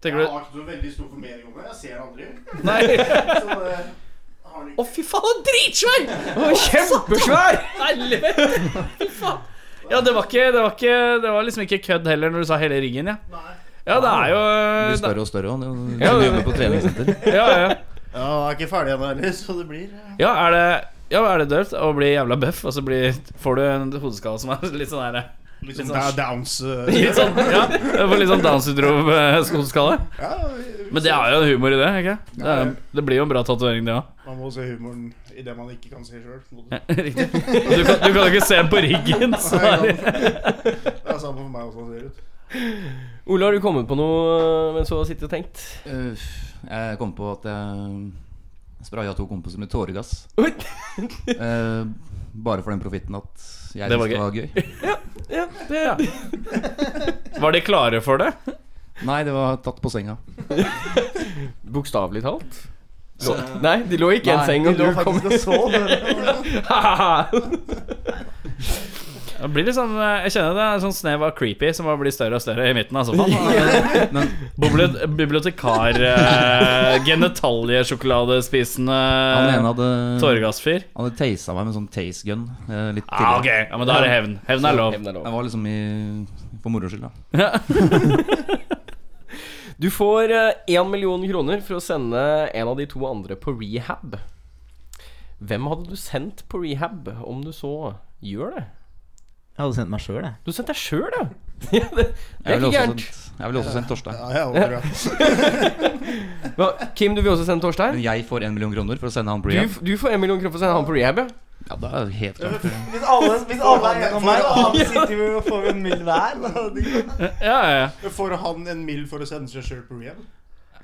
Tenker Jeg du har ikke noe veldig stor formening om det. Jeg ser det aldri. Nei! Så eh, det har den Å, ikke. fy faen, den er dritsvær! Å, Kjempesvær! Helvete! Fy faen. Ja, det var, ikke, det, var ikke, det var liksom ikke kødd heller når du sa hele ryggen, ja. Nei. Ja, det er jo eh, Det blir det- større og større. Og det, Ja, du det- jobber på treningssenter. Ja, ja. Ja, jeg er ikke ferdig ennå heller, så det blir eh, Ja, er det ja, er det døvt å bli jævla bøff, og så blir, får du en hodeskalle som er litt sånn her litt sånn sånn da- downs. eh, Litt sånn, ja, du får litt sånn Downs syndrom-hodeskalle? Ja, vi- vi Men det ser. er jo en humor i det, ikke det? er- Det blir jo en bra tatovering, det òg. Man må se humoren i det man ikke kan se sjøl. Det Riktig. Og Du kan du kan jo ikke se den på ryggen. Så det er- er samme for meg også, ser det ut. Ole, har du kommet på noe eh, mens du har sittet og tenkt? Øh, Jeg kom på at jeg spraya to kompiser med tåregass. Oi. Eh, bare for den profitten at jeg Det var syntes det var gøy. Ja, det ja. Var de klare for det? Nei, det var tatt på senga. Bokstavelig talt? Så, nei, de lå ikke i en Nei, seng, og du kom faktisk og så. Det blir litt sånn, eh, jeg kjenner det er en sånn snev av creepy som bare blir større og større i midten altså. Sånn. av sofaen. Men Bibli- Bibliotekar, eh, han ene genitaliechokoladespisende hadde Han tåregassfyr. hadde tasa meg med sånn tase gun. eh, Litt Ah, ok, tidligere. ja, men da er det hevn. Hevn er lov. Hevn er lov. Jeg var liksom i For moro skyld, da. Du får én million kroner for å sende en av de to andre på rehab. Hvem hadde du sendt på rehab, om du så Gjør det. Jeg hadde sendt meg sjøl, jeg. Du sendte deg sjøl, ja! ja det, det er ikke ville også gærent. sendt- jeg ville også sendt Torstein. Ja, jeg håper det. Hva, Kim, du vil også sende Torstein? Men jeg får en million kroner for å sende han Du, Brian. f- du får en million kroner for å sende han på rehab, ja. Ja, det er helt klart. Hvis alle, hvis alle er enige om meg, da sitter vi og får en mild hver. Ja, ja, ja. Får han en mill for å sende seg sjøl på rehab?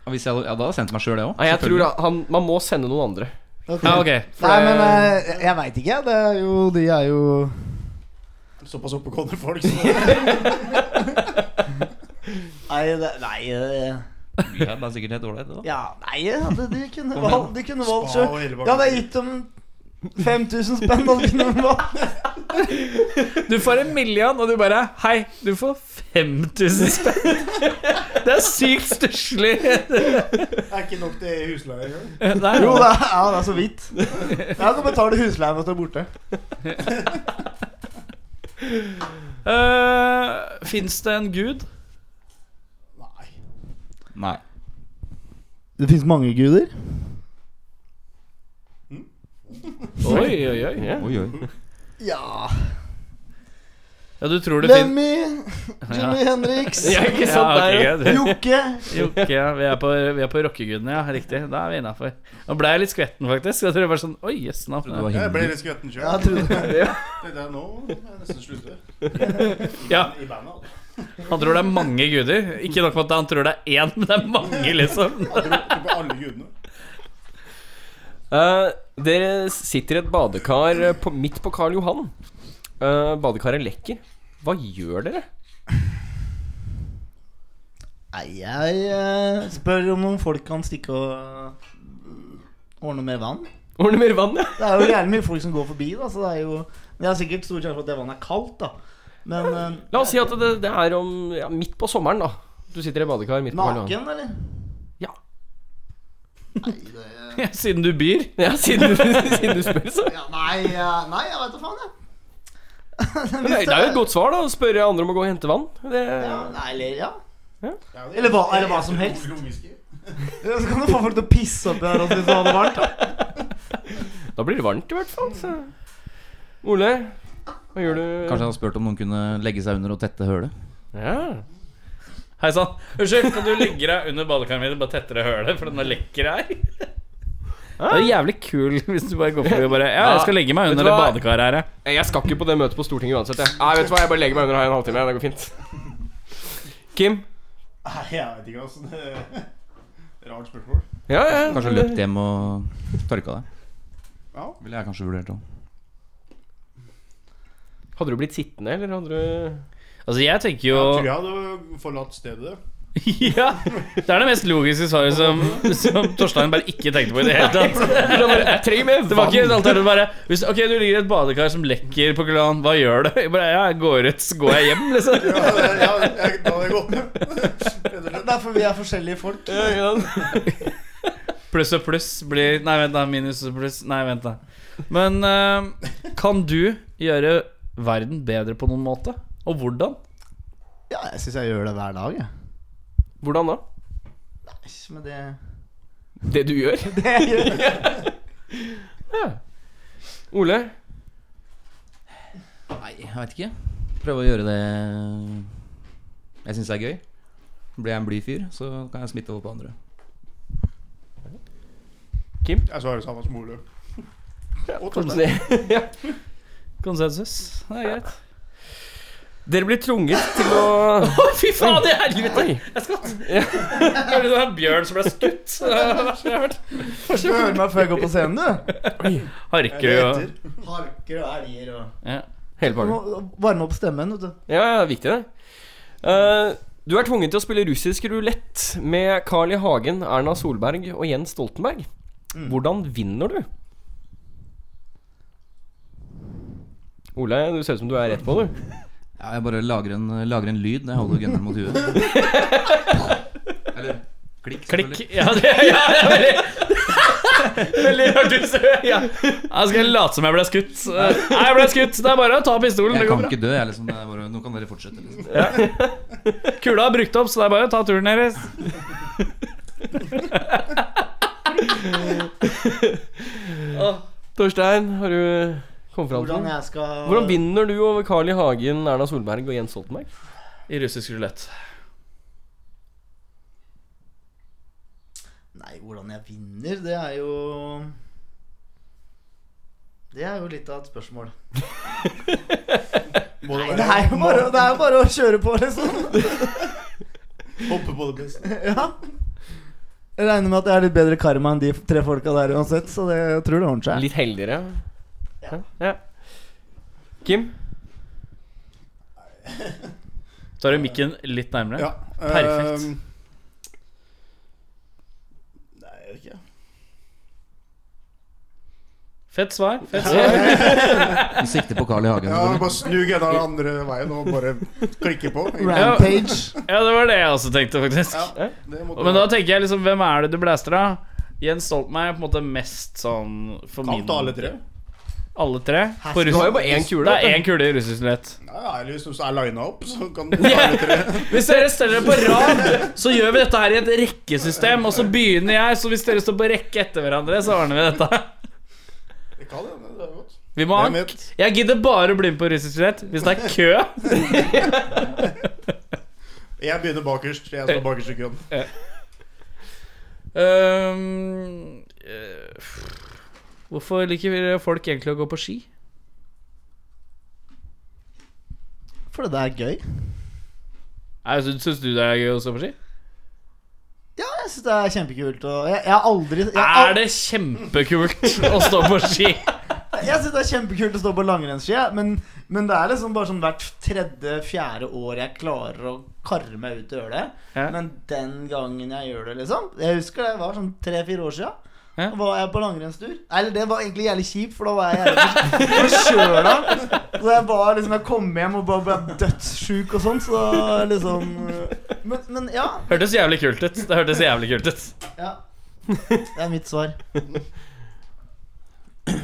Ja, Hvis jeg, hadde- ja, da hadde jeg sendt meg sjøl, jeg òg. Nei, jeg tror da, han, man må sende noen andre. ja ok. For Nei, men det- eh, jeg, jeg veit ikke. Det er jo, de er jo Såpass oppegående folk. Så. Nei, det, nei eh, Det er sikkert helt ålreit, det, da. Ja, nei, jeg hadde, de kunne valgt De kunne valgt Spa sjøl. og hele Jeg hadde gitt dem 5000 spenn. Da kunne de valgt. Du får en million, og du bare Hei, du får 5000 spenn. Det er sykt stusslig. er ikke nok til husleie engang. Nei, Jo, det er, ja, det er så vidt. Jeg kan betale husleien og stå borte. Uh, Fins det en gud? Nei. Nei. Det fins mange guder. Oi, oi, oi. Ja. Oi, oi. Ja Ja, du tror det finnes Lemmy, Jimmy Henriks, Ja, ikke sant? Ja, ok, der, ja. greit. Jokke. Jo, ok, ja, vi er på, vi er på rockegudene, ja. Riktig. Da er vi innafor. Nå ble jeg litt skvetten, faktisk. Jeg tror det var sånn Oi, jøss. nå- Du var Jeg ble himmel. litt skvetten sjøl. Jeg trodde Tenkte jeg nå må jeg nesten slutte. Ja, I bandet, altså. han tror det er mange guder. Ikke nok med at han tror det er én, men det er mange, liksom. Jeg tror- tror på alle gudene. Eh, dere sitter i et badekar eh, på, midt på Karl Johan. Eh, badekaret lekker. Hva gjør dere? Nei, jeg eh, spør om noen folk kan stikke og eh, ordne mer vann. Ordner mer vann, ja? Det er jo gjerne mye folk som går forbi, da, så det er jo Men Det er sikkert stor sjanse for at det vannet er kaldt, da. Men eh, La oss si at det, det er om ja, midt på sommeren, da. Du sitter i badekar midt på Karl Johan. naken, eller? Ja. Nei, det Siden du byr. ja, siden, siden du spør, så. ja, Nei, eh, nei jeg veit da faen, jeg. Men Det, det er jo et godt svar, da. Å spørre andre om å gå og hente vann. Det, Ja, nei, eller ja. Ja, det- Eller hva- eller hva som helst. Logiske. Så kan du få folk til å pisse oppi her også hvis du har det varmt. da. Da blir det varmt, i hvert fall. Så. Ole, hva gjør du? Kanskje jeg hadde spurt om noen kunne legge seg under og tette hølet. Ja. Hei sann. Unnskyld, kan du legge deg under badekaret mitt og bare tette det hølet, for den er lekker her? Ah. Det er jævlig kul hvis du bare går forbi og bare Ja, jeg skal legge meg Vet under du det hva? badekaret her, jeg. Nei, Eh, Jeg skal ikke på det møtet på Stortinget uansett. Jeg. Nei, vet du hva, jeg bare legger meg under her i en halvtime. Det går fint. Kim? Nei, jeg vet ikke, altså. Det er Rart spørsmål. Ja, ja. Kanskje det- løpt hjem og tørka deg. Ja. Ville jeg kanskje vurdert òg. Hadde du blitt sittende, eller hadde du Altså, jeg tenker jo Jeg tror jeg hadde forlatt stedet. Ja, Det er det mest logiske svaret som, som Torstein bare ikke tenkte på i det hele tatt. Det var ikke et alternativ bare hvis, Ok, du ligger i et badekar som lekker på Kulan, hva gjør du? Jeg bare, ja, jeg går ut, så går jeg hjem, liksom. Ja, det- ja, jeg, da hadde jeg gått ned. Rett og slett. Derfor vi er forskjellige folk. Pluss og pluss blir Nei, vent, da. Minus og pluss. Nei, vent, da. Men eh, kan du gjøre verden bedre på noen måte? Og hvordan? Ja, jeg syns jeg gjør det hver dag, jeg. Hvordan da? Æsj, men det Det du gjør? Det jeg gjør jeg. Ole? Nei, jeg veit ikke. Prøve å gjøre det jeg syns er gøy. Blir jeg en blid fyr, så kan jeg smitte over på andre. Jeg svarer samme som Ole. Og Torstein. Ja. Konsensus. Det er greit. Dere blir trunget til å Fy faen, det er helvete! Oi. Hører du det var en bjørn som ble skutt? Det var det verste jeg har hørt. Du hører meg før jeg går på scenen, du. Harker du og Etter. Harker og elger og ja. Hele Du parten. må varme opp stemmen, vet du. Ja, ja, det er viktig, det. Eh, du er tvunget til å spille russisk rulett med Carl I. Hagen, Erna Solberg og Jens Stoltenberg. Mm. Hvordan vinner du? Ole, du ser ut som du er rett på, du. Ja, jeg bare lager en, lager en lyd når jeg holder gunneren mot huet. Eller klikk, Klikk. selvfølgelig. Ja, det, ja, det er veldig Veldig rart du ser. Ja. Jeg skal late som jeg ble skutt. Nei, jeg ble skutt. Det er bare å ta pistolen. Det Jeg går kan bra. ikke dø, jeg. liksom Det er bare, Nå kan dere fortsette. liksom Kula er brukt opp, så det er bare å ta turen deres. Torstein, har du Kom fram til Hvordan det. jeg skal Hvordan vinner du over Carl I. Hagen, Erna Solberg og Jens Stoltenberg? I russisk rulett. Nei, hvordan jeg vinner, det er jo Det er jo litt av et spørsmål. Må Nei, det det være- er jo bare, det er jo bare å kjøre på, liksom. Hoppe på det beste. Ja. Jeg regner med at jeg er litt bedre karma enn de tre folka der uansett, så det, jeg tror det ordner seg. Litt heldigere? Ja. ja. Kim? Tar du mikken litt nærmere? Ja. Perfekt. ehm, Nei, jeg vet ikke. Fett svar. Fett svar. Du sikter på Carl I. Hagen. Ja, selvfølgelig. bare snu gena den andre veien og bare klikke på. Rampage. Ja, det var det jeg også tenkte, faktisk. Ja, det måtte Men da være. tenker jeg liksom, hvem er det du blæster av? Jens Stoltenberg er på en måte mest sånn for Kan min ta alle tre. Alle tre? På Du russisk- har jo bare én kule. Det er én kule i russisk rulett. Nei, eller hvis du er lina opp, så kan du ta alle tre. Hvis dere steller dere på rad, så gjør vi dette her i et rekkesystem. Og så begynner jeg, så hvis dere står på rekke etter hverandre, så ordner vi dette. Det kan hende, det er godt. Vi må Hvem ha vet? Jeg gidder bare å bli med på russisk rulett hvis det er kø. Jeg begynner bakerst. Jeg står bakerst i køen. Øhm, øh, hvorfor liker folk egentlig å gå på ski? For det der er gøy. Nei, sy- Syns du det er gøy å stå på ski? Ja, jeg syns det er kjempekult. Og jeg, jeg har aldri jeg, har Er det kjempekult å stå på ski? al- jeg syns det er kjempekult å stå på langrennsski, jeg, men, men det er liksom bare sånn hvert tredje-fjerde år jeg klarer å karre meg ut til å gjøre det. Ja. Men den gangen jeg gjør det, liksom Jeg husker det var sånn tre-fire år sia. Ja. Da var jeg på langrennstur. Eller det var egentlig jævlig kjipt, for da var jeg jævlig forkjøla. Så jeg var liksom Jeg kom hjem og bare ble dødssjuk og sånn, så liksom Men, men ja, Hørtes jævlig kult ut. Det hørtes jævlig kult ut. ja. Det er mitt svar. Eh,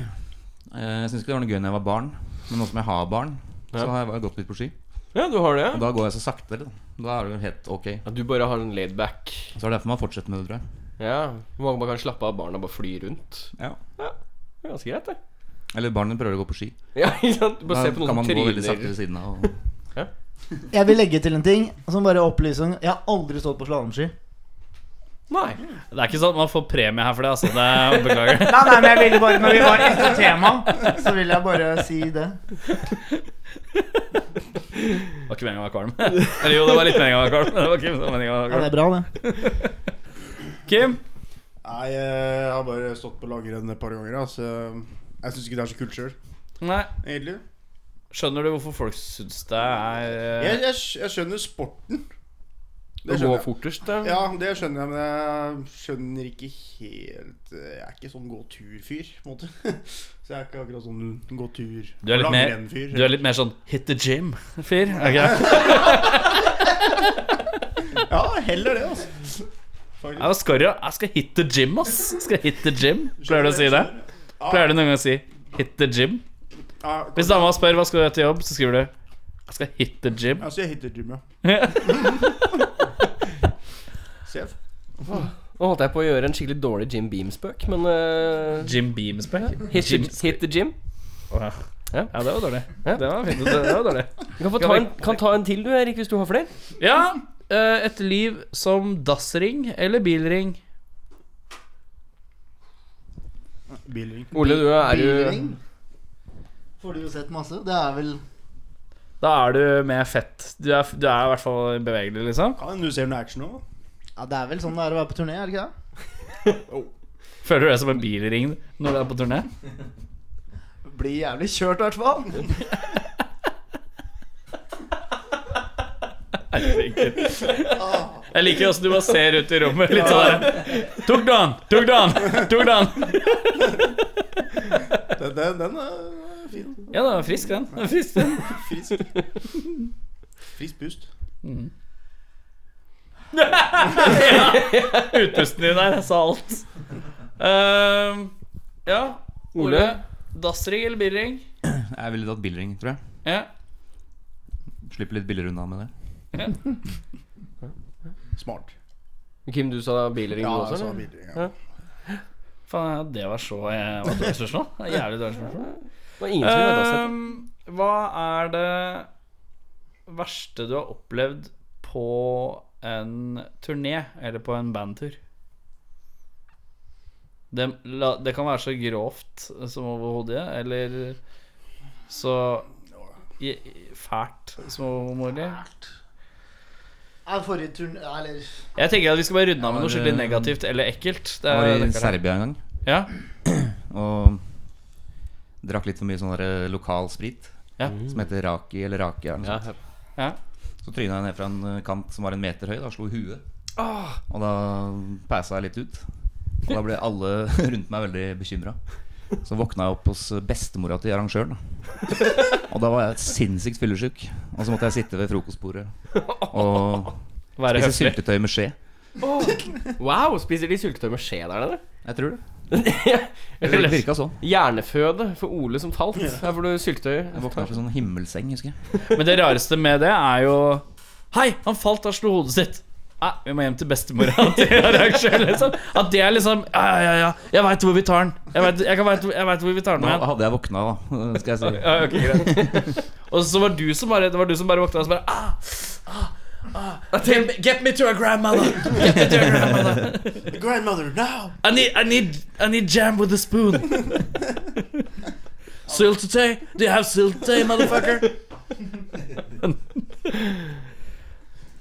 Jeg syns ikke det var noe gøy da jeg var barn, men nå som jeg har barn, så Ja. har jeg gått litt på ski. Ja, du har det, Og ja. da går jeg så saktere. Da, da er det jo helt ok. ja du bare har en laidback. Så er det derfor man fortsetter med det, tror jeg. Ja. Hvor mange bare kan slappe av barna og bare fly rundt. Ja. Det er ganske greit, det. Eller barnet prøver å gå på ski. Ja, ikke sant? Da Bare se på kan noen man som gå veldig sakte tryner. ved siden av. Og... Jeg vil legge til en ting som bare opplyser Jeg har aldri stått på slalåmski. Nei. Det er ikke sånn at man får premie her for det, altså. Det beklager. Nei, nei, men jeg ville bare Når vi var etter tema, så vil jeg bare si det. Det var ikke meningen å være kvalm. Eller jo, det var litt meningen å være kvalm. men Det var ikke meningen å Ja, være kvalm. det er bra, det. Kim? Nei, jeg har bare stått på langrenn et par ganger, da, så jeg syns ikke det er så kult sjøl, Nei. egentlig. Skjønner du hvorfor folk syns det Jeg, er eh, jeg, jeg skjønner sporten. Det Det går skjønner jeg. fortest, da. Ja, det skjønner jeg, men jeg skjønner ikke helt eh, Jeg er ikke sånn gå-tur-fyr, på en måte. Så jeg er ikke akkurat sånn Du gå-tur er litt mer- langrenn-fyr. Du er litt mer sånn hit the gym-fyr? Okay. Ja, heller det, altså. Faktisk. Jeg, skal, jeg skal hit the gym, ass. Skal jeg hit the gym? Pleier du å si det? Ja, Pleier du noen gang å si 'hit the gym'? Ja, Hvis dama spør hva skal du gjøre til jobb, så skriver du 'jeg skal hit the gym'. ja, så jeg hitter gym, ja. Sjef. Nå holdt jeg på å gjøre en skikkelig dårlig Jim Beam-spøk, men eh, Jim Beamsback? hit, the, hit the gym. Ja. ja, det var dårlig. Ja. Det var fint. Det var dårlig. Du kan få ta en, kan ta en til, du, Erik, hvis du har flere. Ja, eh, et liv som dassring eller bilring. Bilring. Ole, du er jo Bilring. Får du jo sett masse. Det er vel Da er du med fett. Du er, du er i hvert fall bevegelig, liksom. Kan hende du ser noe action òg. Ja, det er vel sånn det er å være på turné, er det ikke det? Føler du deg som en bilring når du er på turné? Blir jævlig kjørt, i hvert fall. Herregud. Jeg liker åssen du bare ser ut i rommet. Litt sånn der. Tok du han? Tok du han? Tok du han? Den, den, den er fin. Ja, den er frisk, den. Den er frisk, den. Frisk. Frisk pust. Utpusten din der, jeg sa alt. Ehm, ja, Ole. Ole. Dassring eller bilring? Jeg ville tatt bilring, tror jeg. Ja. Slipper litt billigere unna med det. Smart. Kim, du sa bilring, du Ja, også? jeg sa eller? bilring. Ja. Faen, ja, det var så eh, Hva dårlig spørsmål? Det er Jævlig dårlig spørsmål. Det var ingen som ville ha sett det. Ehm, hva er det verste du har opplevd på en turné eller på en bandtur? Det, la, det kan være så grovt som overhodet, eller så i- i- fælt som overhodet. Er forrige turn... Eller Jeg tenker at vi skal bare runde av med noe Ja, det- skikkelig negativt eller ekkelt. Det Jeg var er, i det kan jeg- Serbia en gang ja. og drakk litt for mye sånn der lokal sprit Ja. som heter raki eller rakia. eller noe Ja, sånt. Ja. Så tryna jeg ned fra en eh, kant som var en meter høy, da slo huet. Og da passa jeg litt ut. Og da ble alle rundt meg veldig bekymra. Så våkna jeg opp hos eh, bestemora til arrangøren. Da. Og da var jeg sinnssykt fyllesyk. Og så måtte jeg sitte ved frokostbordet og Være spise høflig. syltetøy med skje. Eh, Wow, spiser de syltetøy med skje der nede? Jeg tror det. Det virka sånn. Hjerneføde for Ole som falt. Her får du syltetøy. Jeg våkna opp i sånn himmelseng, husker jeg. Men det rareste med det er jo Hei, han falt og slo hodet sitt. Nei, vi må hjem til bestemora. til arrangøren, liksom. At det er liksom Ja, ja, ja, ja. Jeg veit hvor vi tar den. Jeg vet, jeg kan vet, jeg vet hvor vi tar den Nå igjen. hadde jeg våkna, da. Skal jeg si. Ja, ok, greit. Og så var du som bare Det var du som bare våkna og så bare ah, ah, ah. Get, me, get me to a grandmother. Get me to a grandmother. Grandmother, now! I need, I need, I need jam with a spoon. Syltetøy? Do you have syltetøy, motherfucker?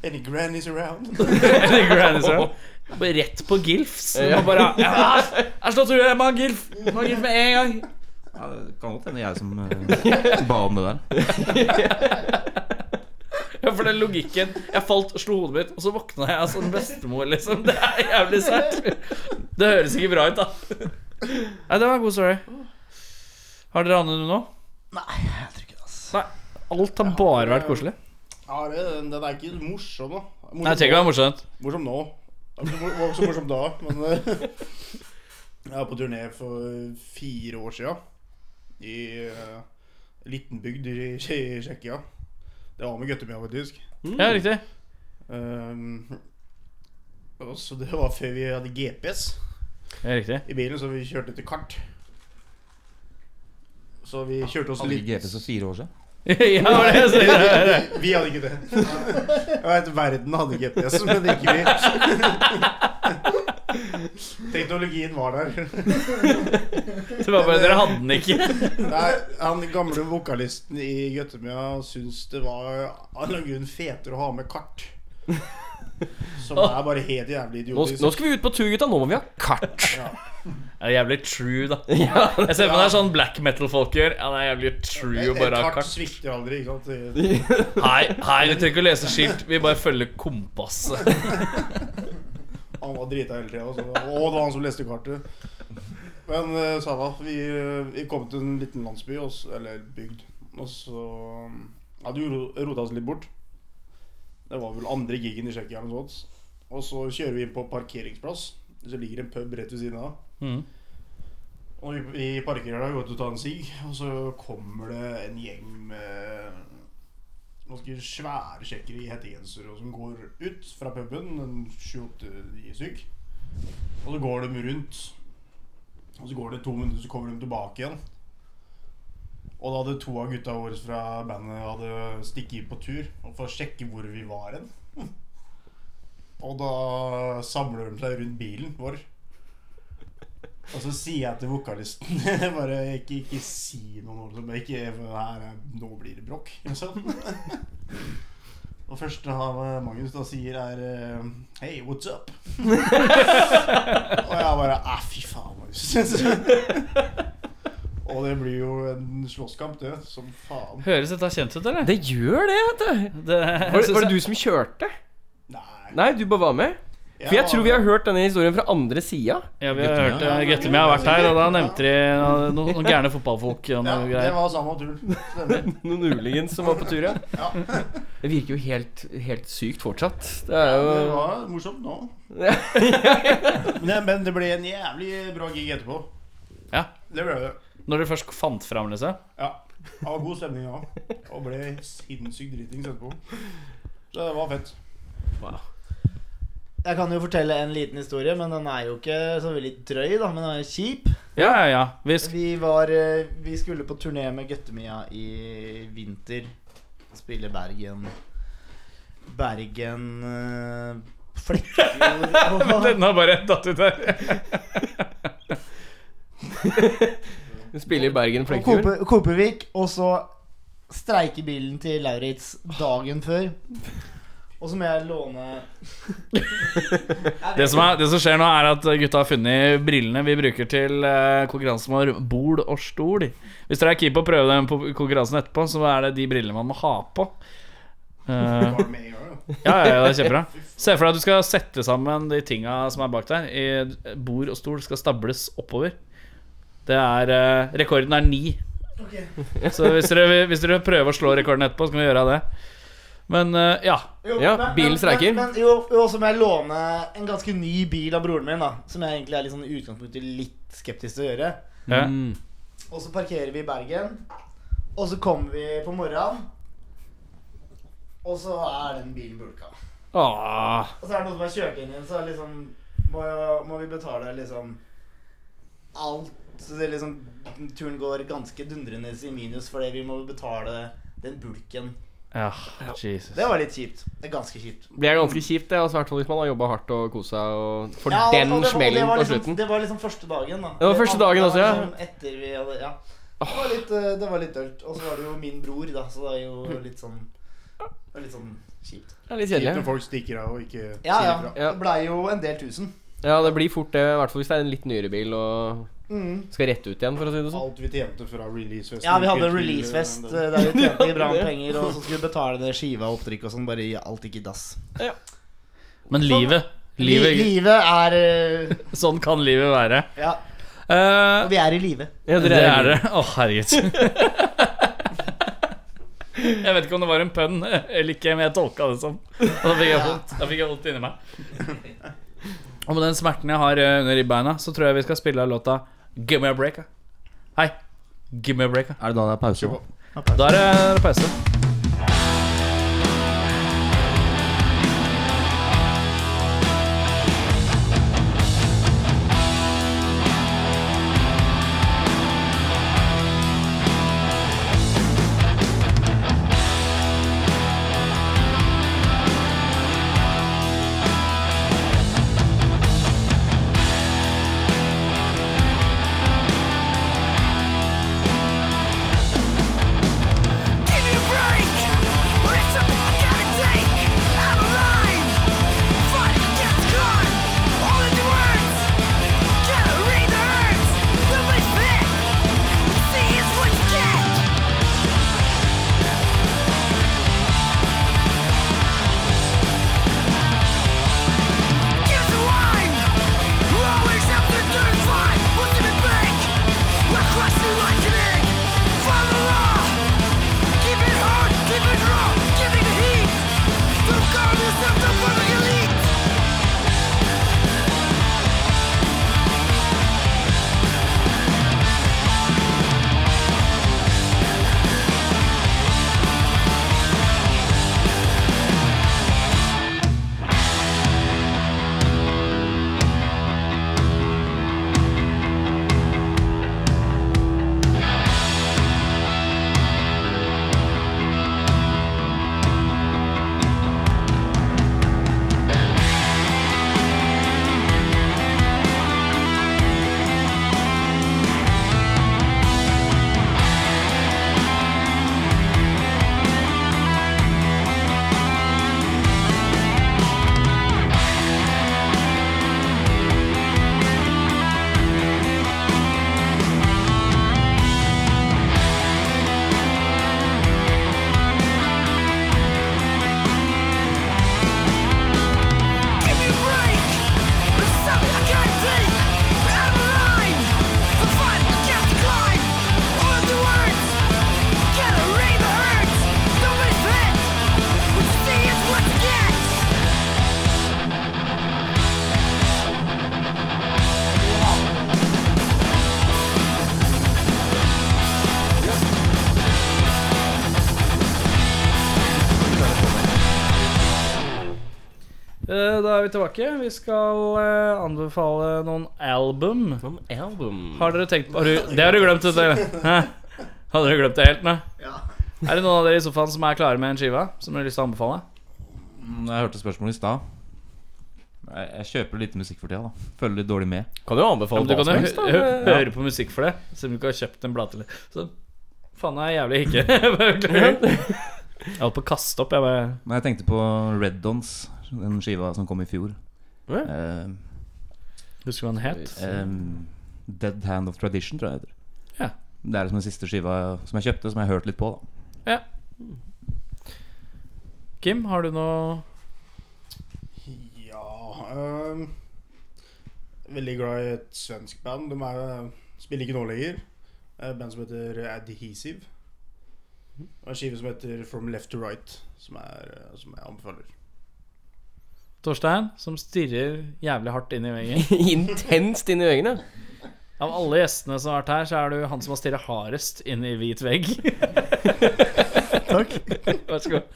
Any grannies around? Eller Granny Sir. Bare Rett på Gilfs. Og bare ja, Jeg slår tror jeg må ha Gilf. Må ha Gilf med en gang. Ja, det kan godt hende jeg som eh, ba om det der. Ja, for den logikken. Jeg falt, slo hodet mitt, og så våkna jeg som bestemor, liksom. Det er jævlig sært. Det høres ikke bra ut, da. Nei, det var en god story. Har dere annet nå? Nei, jeg tror ikke det, altså. Alt har bare vært koselig. Ja, det, den den er ikke morsom, da. Morsom Nei, tenk å være morsomt. Morsom nå. Det var ikke så morsom da, men eh, Jeg var på turné for fire år sia. I uh, liten bygd i Tsje- i Tsjekkia. Det var med guttemia, faktisk. Ja, riktig. Um, og så det var før vi hadde GPS Ja, riktig. i bilen, så vi kjørte etter kart. Så vi kjørte oss Hadde ikke litt GPS for fire år siden. Ja, var det jeg sa. Vi hadde ikke det. Jeg vet, verden hadde GPS, men ikke vi. Teknologien var der. Det var bare dere hadde den ikke. Nei, han gamle vokalisten i Gøttemia syns det var av en eller annen grunn fetere å ha med kart. Som er bare helt jævlig Nå, idiotisk. nå skal vi ut på tur, gutta. Nå må vi ha kart. Ja, det er jævlig true, da. Ja, Jeg ser for meg det er sånn black metal-folk gjør. Ja, det er jævlig true å Et bare ha kart kart. svikter aldri, ikke sant? Det- Hei, hei, vi trenger ikke å lese skilt. Vi bare følger kompasset. Han var drita hele tida. Og det var han som leste kartet. Men uh, samme, vi, eh, vi kom til en liten landsby, og s- eller bygd. Og så um, Ja, du ro- rota oss litt bort. Det var vel andre gigen i Tsjekkia. eller noe sånt. Og så kjører vi inn på parkeringsplass. Så ligger det en pub rett ved siden av. Mhm. Og vi, vi parkerer der, går ut og tar en sigg, og så kommer det en gjeng med ganske svære tsjekkere i hettegensere og som går ut fra puben, en sju-åtte stykk. Og så går de rundt. Og så går det to minutter, så kommer de tilbake igjen. Og da hadde to av gutta våre fra bandet hadde stikket på tur og for å sjekke hvor vi var hen. Og da samler de seg rundt bilen vår. Og så sier jeg til vokalisten bare ikke, ikke si noe nå, liksom. Ikke, for det her er, nå blir det bråk. Liksom. Og første han eh, Magnus da sier, er eh, Hei, what's up? og jeg bare Æh, fy faen, Magnus. og det blir jo en slåsskamp, det. Som faen. Høres dette kjent ut, eller? Det gjør det, vet du. Det, Var, det- var det du som kjørte? Nei. Nei, du bare var med. For jeg tror vi har hørt denne historien fra andre sida. Ja, vi har hørt det. Guttemia har vært her, og da nevnte de noen, noen gærne fotballfolk og ja, noe Det greier. var samme turen. Stemmer. Noen uligens som var på tur, ja. Det virker jo helt, helt sykt fortsatt. Det er jo Det var morsomt nå. men, men det ble en jævlig bra gig etterpå. Ja. Det ble det. Når dere først fant fram, liksom. Ja. Det var god stemning da. Og ble sinnssykt dritings etterpå. Så det var fett. Jeg kan jo fortelle en liten historie, men den er jo ikke så veldig drøy, da. Men den er kjip. Ja, ja, ja. Vi sk Vi, var, eh, vi skulle på turné med Guttemia i vinter. Spille Bergen Bergen eh, Flekkefjord og Den har bare datt ut her. Du spiller i Bergen Og Flekkefjord. Kope- Kopervik, og så streiker bilen til Lauritz dagen før. Og så må jeg låne Det som, er, det som skjer nå, er at gutta har funnet brillene vi bruker til eh, konkurransen vår Bol og stol. Hvis dere er keen på å prøve den på konkurransen etterpå, så er det de brillene man må ha på. Eh, Var det med en gang, da? ja, ja, ja, det er kjempebra. Se for deg at du skal sette sammen de tinga som er bak der. I bord og stol skal stables oppover. Det er eh, Rekorden er ni. Så hvis dere, hvis dere prøver å slå rekorden etterpå, så kan vi gjøre det. Men eh, ja. jo, Ja, bilen streiker. Men, men, jo, jo, så må jeg låne en ganske ny bil av broren min, da. Som jeg egentlig er litt sånn i utgangspunktet litt skeptisk til å gjøre. ja. Og så parkerer vi i Bergen. Og så kommer vi på morgenen. Og så er den bilen bulka. Åh. Og så er det noen som har kjørt inn igjen, så er det liksom må, må vi betale liksom alt Så det liksom turen går ganske dundrende i minus fordi vi må betale den bulken. Ja, Jesus. Det var litt kjipt. Det er ganske kjipt. Det er ganske kjipt, det. Altså, i hvert fall hvis man har jobba hardt og kosa seg og for Ja, og- den og det var- det smellen var på liksom, slutten. Det var liksom første dagen, da. Det var første dagen andre også, ja. var liksom Etter vi hadde, ja. Det var litt, eh, det var litt dølt. Og så var det jo min bror, da, så det er jo litt sånn det er Litt sånn kjipt. Det er litt Kjipt når kjedelig. folk stikker av og ikke Ja, sier ja. ifra. Ja. Det blei jo en del tusen. Ja, det blir fort det. I hvert fall hvis det er en litt nyere bil og Mm. skal rette ut igjen, for å si det sånn. Alt vi tjente fra releasefesten. Ja, vi hadde en gikk til, releasefest eh, eh, der vi tjente bra med penger, og så skulle vi betale det skiva og opptrykk og sånn. Bare gi alt gikk i dass. Men livet. sånn- Li livet livet er eh, Sånn kan livet være. Ja, Eh, og vi er i live. Ja, det er det. Å, herregud. Jeg vet ikke om det var en pønn eller ikke, men jeg tolka det som. Og da fikk jeg vondt, da fikk jeg vondt inni meg. Og med den smerten jeg har eh, under ribbeina, så tror jeg vi skal spille av låta Give me a break. ja. Hei. Give me a break. ja. Er det da det er pause? Da er det pause. Give me a break. Eh, er vi tilbake. Vi skal eh, anbefale noen album. Noen album Har dere tenkt har du, Det har du glemt, vet du. Hæ? Har dere glemt det helt nå? Er det noen av dere i sofaen som er klare med en skive som dere har lyst til å anbefale? Jeg hørte spørsmålet i stad. Jeg, jeg kjøper lite musikk for tida. da Følger litt dårlig med. Kan jo Ja, anbefale men du hva kan jo som helst, hø da. hø Ja. høre på musikk for det, selv om du ikke har kjøpt en plate. eller- Så faen jeg er jævlig hikke. Beklager. jeg holdt på å kaste opp. Jeg bare Men jeg tenkte på Red Dons, den skiva som kom i fjor. Ja. Eh, Husker du hva den het? Ehm, Dead Hand of Tradition, tror jeg det heter. Ja. Det er liksom den siste skiva som jeg kjøpte, som jeg har hørt litt på. da Kim, har du noe Ja øhm, Veldig glad i et svensk band. De er, spiller ikke nå lenger. Det er Et band som heter Adhesive. Og en skive som heter From Left to Right, som, er, øh, som jeg anbefaler. Torstein, som stirrer jævlig hardt inn i veggen? Intenst inn i øynene. Av alle gjestene som har vært her, så er du han som har stirra hardest inn i hvit vegg. Takk. Vær så god.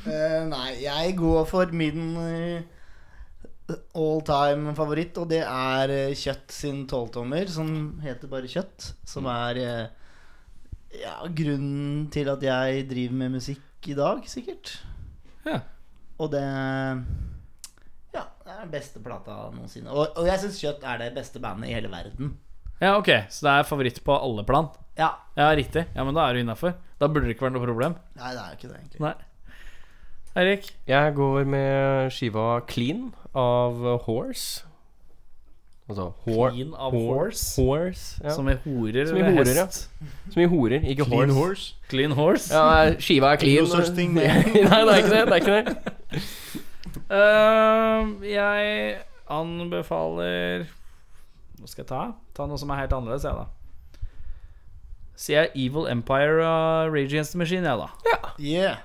Eh, nei, jeg går for min eh, all time favoritt, og det er eh, Kjøtt sin tolvtommer, som heter bare Kjøtt. Som er eh, ja, grunnen til at jeg driver med musikk i dag, sikkert. Ja. Og det Ja, det er den beste plata noensinne. Og, og jeg syns Kjøtt er det beste bandet i hele verden. Ja, ok, så det er favoritt på alle plan? Ja. Ja, riktig. Ja, men da er du innafor. Da burde det ikke være noe problem. Nei, det er jo ikke det, egentlig. Nei. Eirik? Jeg går med skiva Clean av uh, Horse. Altså hor Clean av hor- Horse? Horse ja. som, Som i horer Som i eller horer, ja. hest? i horer, ikke horse. Clean horse? Ja, nei, skiva er clean. No such thing, nei, det man. er ikke det. det, er ikke det. Eh, jeg anbefaler Hva skal jeg ta? Ta noe som er helt annerledes, jeg, da. Sier jeg Evil Empire av Rage Against the Machine, jeg, da. Yeah. Yeah.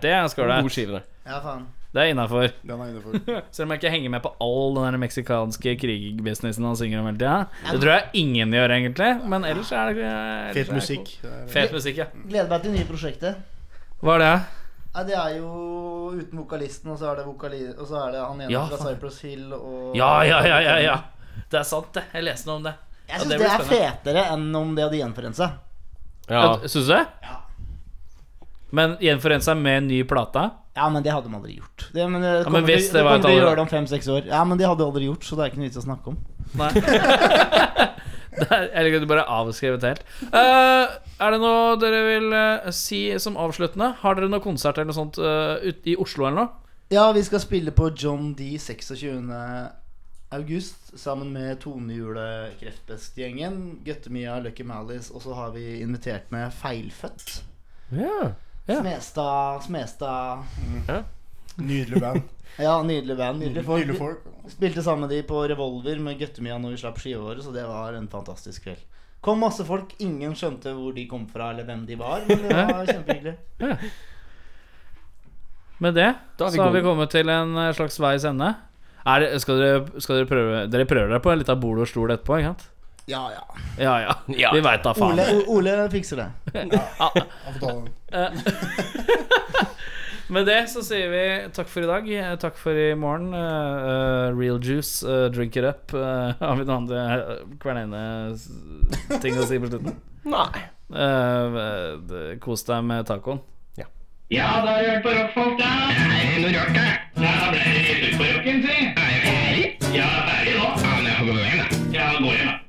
Det er God skålreit. skive, det. Ja, faen. Det er innafor. Den er innafor. Selv om jeg ikke henger med på all den der meksikanske krigbusinessen han synger om hele tida. Det tror jeg ingen gjør, egentlig. Men ellers er det ellers er det Fet cool. musikk. Det er- Fet musikk, ja. Gleder meg til det nye prosjektet. Hva er det? Nei, det er jo uten vokalisten, og så er det, vokali og så er det han ene Ja, fra faen. Cypress Hill og Ja, ja, ja, ja, ja. Det er sant, det. Jeg leste noe om det. Jeg Ja, syns det det, blir er fetere enn om de hadde gjenforent seg. Ja. Syns du det? Ja. Men gjenforent seg med en ny plate? Ja, men det hadde de aldri gjort. Det, men det men kommer, hvis til, det det var et kommer til å alder- gjøre det om fem-seks år. Ja, men de hadde aldri gjort, så det er ikke noe vits å snakke om. Nei. Det er- Jeg liker at du bare har avskrevet helt. Eh, er det noe dere vil eh, si som avsluttende? Har dere noe konsert eller noe sånt eh, ut, i Oslo eller noe? Ja, vi skal spille på John D 26. august sammen med Tonehjule-Kreftbest-gjengen, Guttemia, Lucky Malice, og så har vi invitert med Feilfødt. Ja. Ja. Smestad, Smestad Nydelig band. Ja, nydelig band. Nydelig folk. Nydelig folk. Spilte sammen med de på Revolver med Guttemia når vi slapp skiåret, så det var en fantastisk kveld. Kom masse folk, ingen skjønte hvor de kom fra eller hvem de var, men det var kjempehyggelig. Med det Da er vi så har vi gode. kommet til en eh, slags veis ende. Er det, skal dere, skal dere prøve Dere prøver dere på en liten bord og stol etterpå, ikke sant? Ja, ja. Ja, ja. Ja. Vi veit da faen. Ole, O- Ole fikser det. Jeg får ta den. Med det så sier vi takk for i dag. eh, Takk for i morgen. eh, eh, real juice, eh, drink it up. eh, har vi noen andre eh, kvernerende s- ting å si på slutten? Nei. Eh, d- Kos deg med tacoen. Ja, da har du hørt på rockfolk, da. Er det noe rock, da? Ja, da ble det litt ut på rocken, si. Er du ferdig? Ja, ferdig nå. Ja, men jeg får gå hjem, da. Ja, gå hjem, da.